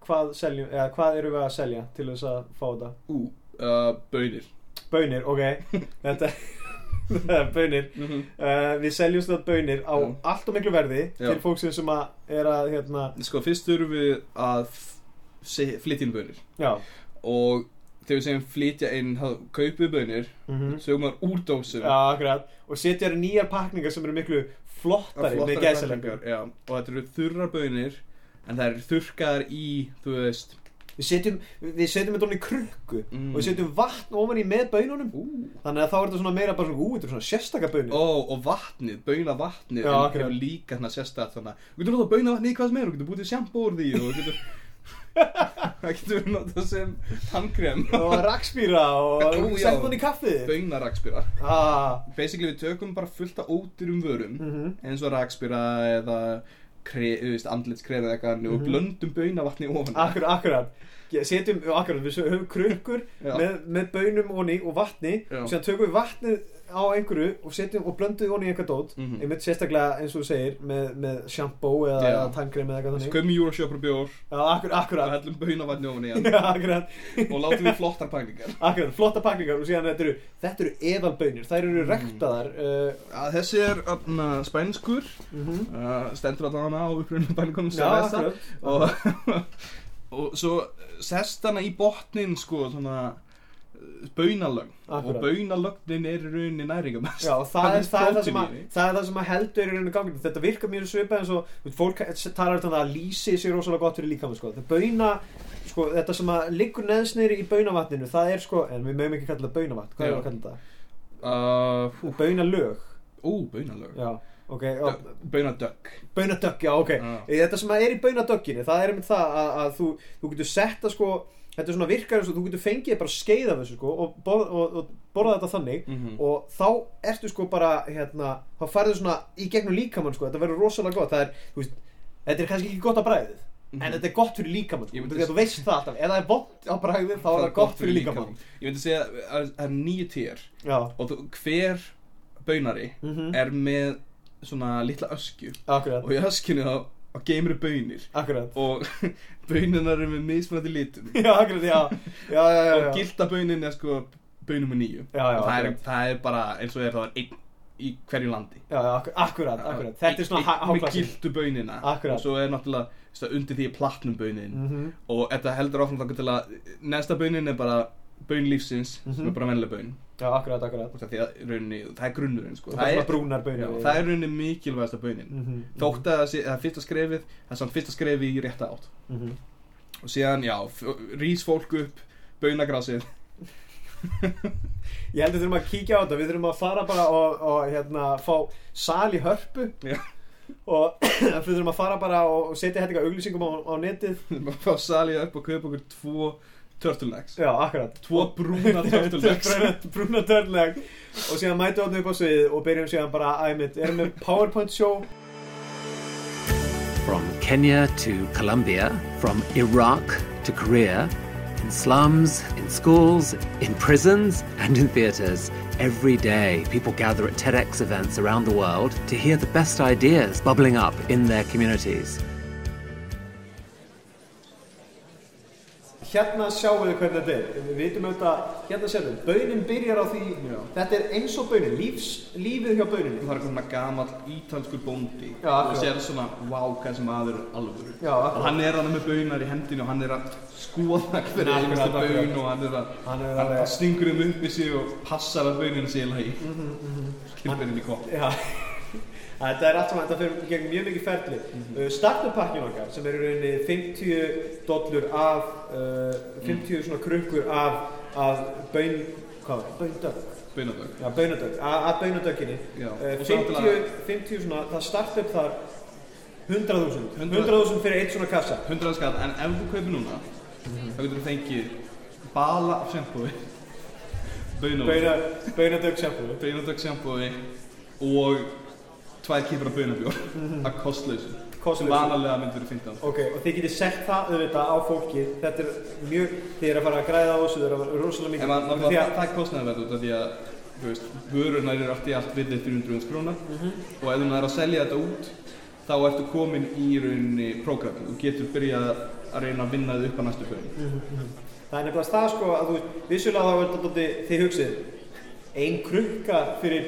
Speaker 3: hvað, seljum, eða, hvað erum við að selja til þess að fá þetta?
Speaker 2: ú, uh, bönir
Speaker 3: Bönir, ok Þetta þetta er Bönir
Speaker 2: mm -hmm.
Speaker 3: uh, Við seljum þetta bönir á
Speaker 2: Já.
Speaker 3: allt og miklu verði
Speaker 2: Já.
Speaker 3: Til fólksins sem að er að hérna,
Speaker 2: sko fyrst þurfum við að f- se- flytja inn bönir
Speaker 3: Já
Speaker 2: og þegar við segjum flytja inn þá kaupum við bönir
Speaker 3: mm
Speaker 2: sögum maður úr dósum
Speaker 3: Já, akkurat Og setja þér nýjar pakningar sem eru miklu flottari, með gæsalöngar
Speaker 2: Já, og þetta eru þurrar bönir en það eru þurrkaðar í þú veist
Speaker 3: Við setjum, við setjum þetta ofan í krukku
Speaker 2: Mm.
Speaker 3: og við setjum vatn ofan í með bönunum
Speaker 2: ú,
Speaker 3: Þannig að þá er þetta svona meira bara svona, ú, þetta er svona sérstaka bönir
Speaker 2: Ó, og vatnið, bauna vatnið
Speaker 3: Já,
Speaker 2: en
Speaker 3: akkurat.
Speaker 2: hefur líka hérna sérstætt þannig að Þú getur notað bauna vatnið í hvað sem er, þú getur búið til sjampo úr því og þú getur Það getur verið notað sem tannkrem
Speaker 3: Og rakspýra og
Speaker 2: Ú, já.
Speaker 3: sett hún í kaffið
Speaker 2: Bauna rakspýra
Speaker 3: ah,
Speaker 2: Basically við tökum bara fullt af ódýrum vörum
Speaker 3: Mhm.
Speaker 2: eins og rakspýra eða kre, þú veist, andlitskrem eða eitthvað
Speaker 3: Mhm.
Speaker 2: og blöndum bauna vatnið ofan í.
Speaker 3: Akkurat, akkurat Ég- Setjum, já, akkurat, við höfum krukkur
Speaker 2: Já.
Speaker 3: með, með bönum onni og vatni
Speaker 2: Já.
Speaker 3: Síðan tökum við vatnið á einhverju og setjum og blöndum onni í einhver dót
Speaker 2: Mhm.
Speaker 3: Einmitt sérstaklega eins og þú segir með, með shampoo eða
Speaker 2: Já.
Speaker 3: yeah. tangrem eða eitthvað þannig
Speaker 2: Skömmi júrasjöpur bjór
Speaker 3: Já, akkurat,
Speaker 2: og
Speaker 3: akkurat
Speaker 2: hellum bauna vatnið ofan í hann
Speaker 3: Já, akkurat
Speaker 2: og látum við flottar pælingar
Speaker 3: Akkurat, flotta pakningar og síðan þetta eru, þetta eru eðalbönir, þær eru
Speaker 2: Mhm.
Speaker 3: rektaðar uh, mhm.
Speaker 2: Að Þessi er öfna, spænskur uh, stendur allan á upprunum pælingunum sem
Speaker 3: Já,
Speaker 2: er þessa.
Speaker 3: akkurat
Speaker 2: og, og svo sest hana í botnin sko svona eh, baunalögn
Speaker 3: Akkurat.
Speaker 2: og baunalögnin er í rauninni næringamest
Speaker 3: Já, og það er það, er það, sem að, það er það sem að heldur í rauninu gangi Þetta virkar mjög svipað eins og þú veist, fólk talar um það að lýsi sér rosalega gott fyrir líkamann sko. Það bauna, sko, þetta sem að liggur neðsnir í baunavatninu Það er sko, en við mögum ekki kalla það baunavatn Hvað er
Speaker 2: Já.
Speaker 3: að kalla þetta?
Speaker 2: uh,
Speaker 3: Baunalög
Speaker 2: Ó, baunalög
Speaker 3: já, ok og,
Speaker 2: Baunadögg
Speaker 3: Bönadögg, já ok
Speaker 2: Já.
Speaker 3: Þetta sem er í bönadögginni, það er einmitt það að, að þú, þú getur setta sko Þetta er svona virkar eins og þú getur fengið bara skeið af þessu sko og, bor, og, og borða þetta þannig
Speaker 2: Mhm.
Speaker 3: og þá ertu sko bara hérna, þá færðu svona í gegnum líkamann sko, þetta verður rosalega gott það er, þú veist, þetta er kannski ekki gott að bræðið en þetta er gott fyrir líkamann
Speaker 2: Mhm. Ég
Speaker 3: sko,
Speaker 2: myndi
Speaker 3: því að þú veist það alltaf, ef það er bótt á bræðið þá er það gott fyrir líkamann
Speaker 2: Ég myndi segja að að það er nýju týr
Speaker 3: Já,
Speaker 2: og þú, hver baunari
Speaker 3: Mhm.
Speaker 2: er með svona litla öskju og
Speaker 3: akkurat,
Speaker 2: í öskjunni þá þá geymir baunir
Speaker 3: akkurat
Speaker 2: og baununar eru með mismunandi litum
Speaker 3: Já, akkurat, já, já, já, já,
Speaker 2: og
Speaker 3: já.
Speaker 2: gilda baunin er sko baunum með nýju
Speaker 3: Já, já,
Speaker 2: og það er,
Speaker 3: akkurat.
Speaker 2: það er bara eins og er það er einn í hverju landi
Speaker 3: Já, já, akkur- akkurat, akkurat, þetta er svona
Speaker 2: Einn- einn með
Speaker 3: háklassi
Speaker 2: gildu baunina
Speaker 3: Akkurat.
Speaker 2: og svo er náttúrulega þú veist, það undir því er platnum baunin
Speaker 3: Mhm.
Speaker 2: og þetta heldur áfram þangað til að næsta baunin er bara baun lífsins sem er
Speaker 3: Mhm.
Speaker 2: bara venlega baun
Speaker 3: Já, akkurat, akkurat
Speaker 2: Úst af því að rauninni, það er grunnurinn sko.
Speaker 3: Það er svona brúnar
Speaker 2: já,
Speaker 3: baunir
Speaker 2: það er rauninni mikilvægasta baunin
Speaker 3: Mhm,
Speaker 2: þótt að það sé- það er fyrsta skrefið það er samt fyrsta skrefið í rétta átt
Speaker 3: mhm.
Speaker 2: og síðan, já, f- rís fólk upp baunagrasið
Speaker 3: Ég held við þurfum að kíkja á þetta Við þurfum að fara bara og, og hérna, fá sal í hörpu
Speaker 2: Já.
Speaker 3: og við þurfum að fara bara og og setja hérna eitthvað auglýsingum á, á netið
Speaker 2: bara fá salið upp og kaupa okkur tvo turtlenecks
Speaker 3: Já, akkurat
Speaker 2: tvo brúna turtlenecks
Speaker 3: Brúna- Brúna törnleg og síðan mætum við þarna upp á sviðið og byrjum síðan bara æmið Erum við PowerPoint show
Speaker 4: From Kenya to Colombia, from Iraq to Korea, in slums, in schools, in prisons, and in theatres. Every day, people gather at TEDx events around the world to hear the best ideas bubbling up in their communities.
Speaker 3: Hérna sjáum við hvernig þetta er Við vitum auðvitað, hérna sjáum við Bönin byrjar á því,
Speaker 2: Já.
Speaker 3: þetta er eins og bönin Lífs, lífið hjá böninni
Speaker 2: það er svona gamall ítalskur bóndi
Speaker 3: Já,
Speaker 2: og
Speaker 3: akkurat.
Speaker 2: sér svona, wow, hvað sem aður alvöru
Speaker 3: Já, akkurat.
Speaker 2: og hann er hann með baunar í hendinu og hann er að skoða hver
Speaker 3: Akkurat,
Speaker 2: einasta
Speaker 3: akkurat.
Speaker 2: baun og hann er að
Speaker 3: Hann er
Speaker 2: hann
Speaker 3: alveg- Mhm,
Speaker 2: stingur um upp í sig og passar að baunin sé í lagi skilberinn í kopp
Speaker 3: Já, þetta er allt saman, þetta fyrir gegn mjög mikið ferli.
Speaker 2: Mhm.
Speaker 3: Mm -hmm. Startup-pakkin okkar sem er í rauninni 50 dollur af, uh, 50 svona krukkur af, af baun, hvað var það? Baundögg.
Speaker 2: baunadögg
Speaker 3: Já, baunadögg, a- af baunadögginni.
Speaker 2: Já,
Speaker 3: Uh,
Speaker 2: og
Speaker 3: 50,
Speaker 2: samtilega-
Speaker 3: 50 svona, það startup þar 100.000.
Speaker 2: 100.
Speaker 3: 100.000 fyrir eitt svona kassa.
Speaker 2: 100 skall, en ef þú kaupir núna
Speaker 3: Mhm.
Speaker 2: þá getur þú fengið bala af sjampói
Speaker 3: Bauna,
Speaker 2: baunadögg
Speaker 3: baunadögg sjálfur.
Speaker 2: baunadögg sjampói og tvær kýpar af baunabjór að kostlausu
Speaker 3: Mhm. Kostlausu.
Speaker 2: vanalega myndur þú 15
Speaker 3: Ok, og þið getið sett það auðvitað á fólkið, þetta er mjög, þið eru að fara að græða á þessu, þið eru að fara rosalega mikið.
Speaker 2: en maður
Speaker 3: Því
Speaker 2: náttúrulega
Speaker 3: að-
Speaker 2: það er kostnaðarverð út af því að þú veist, vörunar eru allt í allt villið 300 krónar
Speaker 3: Mhm.
Speaker 2: og ef þú næður að selja þetta út þá ertu komin í rauninni prógramin, þú getur byrjað að reyna að vinna þið upp að næstu baun
Speaker 3: Mhm. Það er nefnilega það sko að þú vissulega þá er þetta dótti þið hugsið ein krukka fyrir,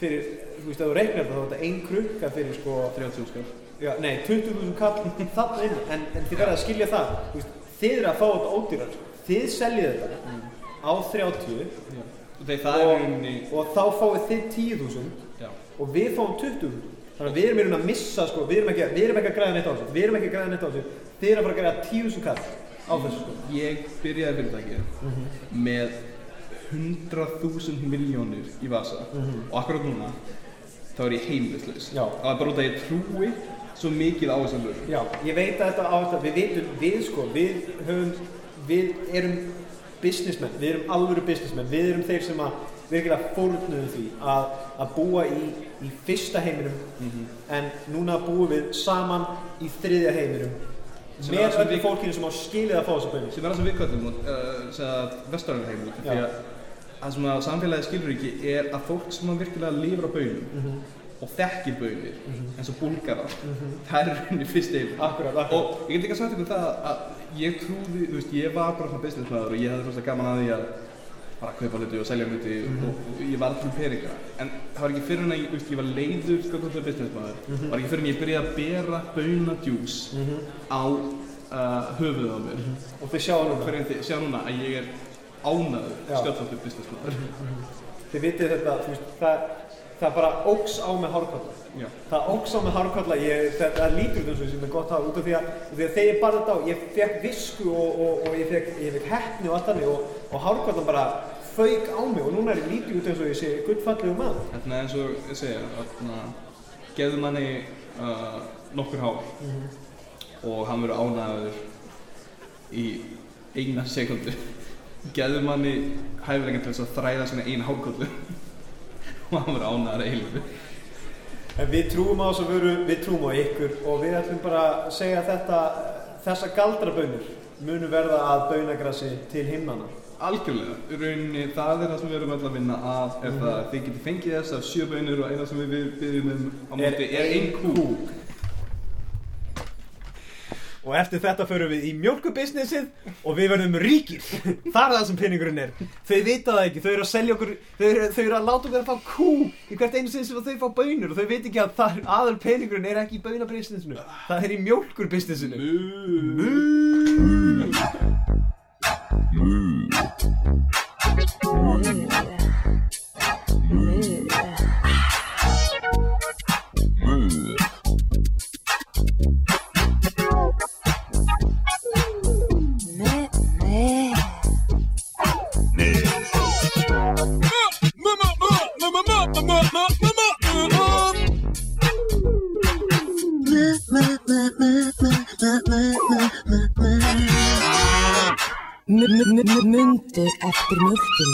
Speaker 3: fyrir þú veist að þú reiknar þetta þá er þetta ein krukka fyrir sko
Speaker 2: 30 skall
Speaker 3: já, nei 20.000 kall þarna inn en, en þið verða að skilja það þú veist, þið eru að fá þetta ódýrar þið seljið þetta á 30
Speaker 2: og þegar það er í rauninni
Speaker 3: og, og þá fáið þið 10.000
Speaker 2: já,
Speaker 3: og við fáum 20.000 þannig að við erum í raun að missa sko við erum ekki, við erum ekki að græða neitt á þessu við erum ekki að græða neitt á þessu þið eru að fara að græða 10.000 kall á þessu sko
Speaker 2: ég byrjaði fyrirtækið
Speaker 3: Mhm.
Speaker 2: með 100.000 miljónir í vasa og akkurat núna þá er ég heimlislaus
Speaker 3: Mhm. Já.
Speaker 2: það var bara út að ég trúi svo mikið á þessum vörum
Speaker 3: Já, ég veit að þetta á þetta, við vitum, við sko, við höfum, við erum businessmen, við erum alvöru businessmen, við erum þeir sem að virkilega fórnuðu því að, að búa í, í fyrsta heiminum
Speaker 2: Mhm.
Speaker 3: en núna búum við saman í þriðja heiminum
Speaker 2: Sem er
Speaker 3: með
Speaker 2: það sem
Speaker 3: öllu
Speaker 2: við-
Speaker 3: fólkinu sem á skilið að fá þessu bönni.
Speaker 2: sem er það sem við kallum uh, vestarinn heimil því
Speaker 3: Já.
Speaker 2: að það sem að samfélagi skilur ekki er að fólk sem að virkilega lifur á baunum og þekkir baunir eins og búlgarar það er í rauninni fyrst einu
Speaker 3: Akkurat, akkurat.
Speaker 2: og ég get ekki að sagt ykkur það að ég trúði, þú veist, ég var bara svona businessmaður og ég hefði svona gaman að því að bara að kaupa hluti og selja hluti og, og ég var alltaf peninga en það var ekki fyrir en að ég, þú veist, ég var leiður sko hvað það businessmaður var ekki fyrir en ég byrjaði að bera baunadjús á uh, höfuð á mér
Speaker 3: Og þið sjáum núna,
Speaker 2: Hverjum þið, sjá núna að ég er ánaður
Speaker 3: Já.
Speaker 2: skjöldfáttur businessmaður
Speaker 3: þið vitið þetta, þú veist, það, það bara óks á með hárkvölda.
Speaker 2: Já,
Speaker 3: Það óks á með hárkvalla, ég, það, það lítur út eins og ég sé með gott hár út af því að, því að þegar ég barði þetta á, ég fekk visku og, og, og ég fekk, ég fekk heppni og allt þannig og, og hárkvallan bara fauk á mig og núna er ég lítið út eins og ég sé gullfallegu maður
Speaker 2: Þannig eins og ég segja, þarna gefðu manni uh, nokkur hár og hann verður ánæður í eina sekundu. Gefðu manni hæfilega til þess að þræða sína eina hárkollu og hann verður ánæður eilu.
Speaker 3: En við trúum á þess að veru, við trúum á ykkur og við ætlum bara að segja að þetta, þessa galdrabönur munu verða að bönagrassi til himnana.
Speaker 2: Algjörlega, í rauninni það er það sem við erum öll að vinna að ef það þið getið fengið þess af sjö bönur og eina sem við byggjum um á móti er ein kú.
Speaker 3: Og eftir þetta förum við í mjölkubusinessið og við verðum ríkir. Það er það sem peningurinn er. Þau vita það ekki, þau eru að selja okkur, þau eru, þau eru að láta okkur að fá kú í hvert einu sinni sem þau fá bönur og þau vita ekki að það, aðal peningurinn er ekki í bönabusinessinu. Það er í mjölkurbusinessinu.
Speaker 2: Mú.
Speaker 1: Mu- mu- mu- Mundu eftir mjölkinu.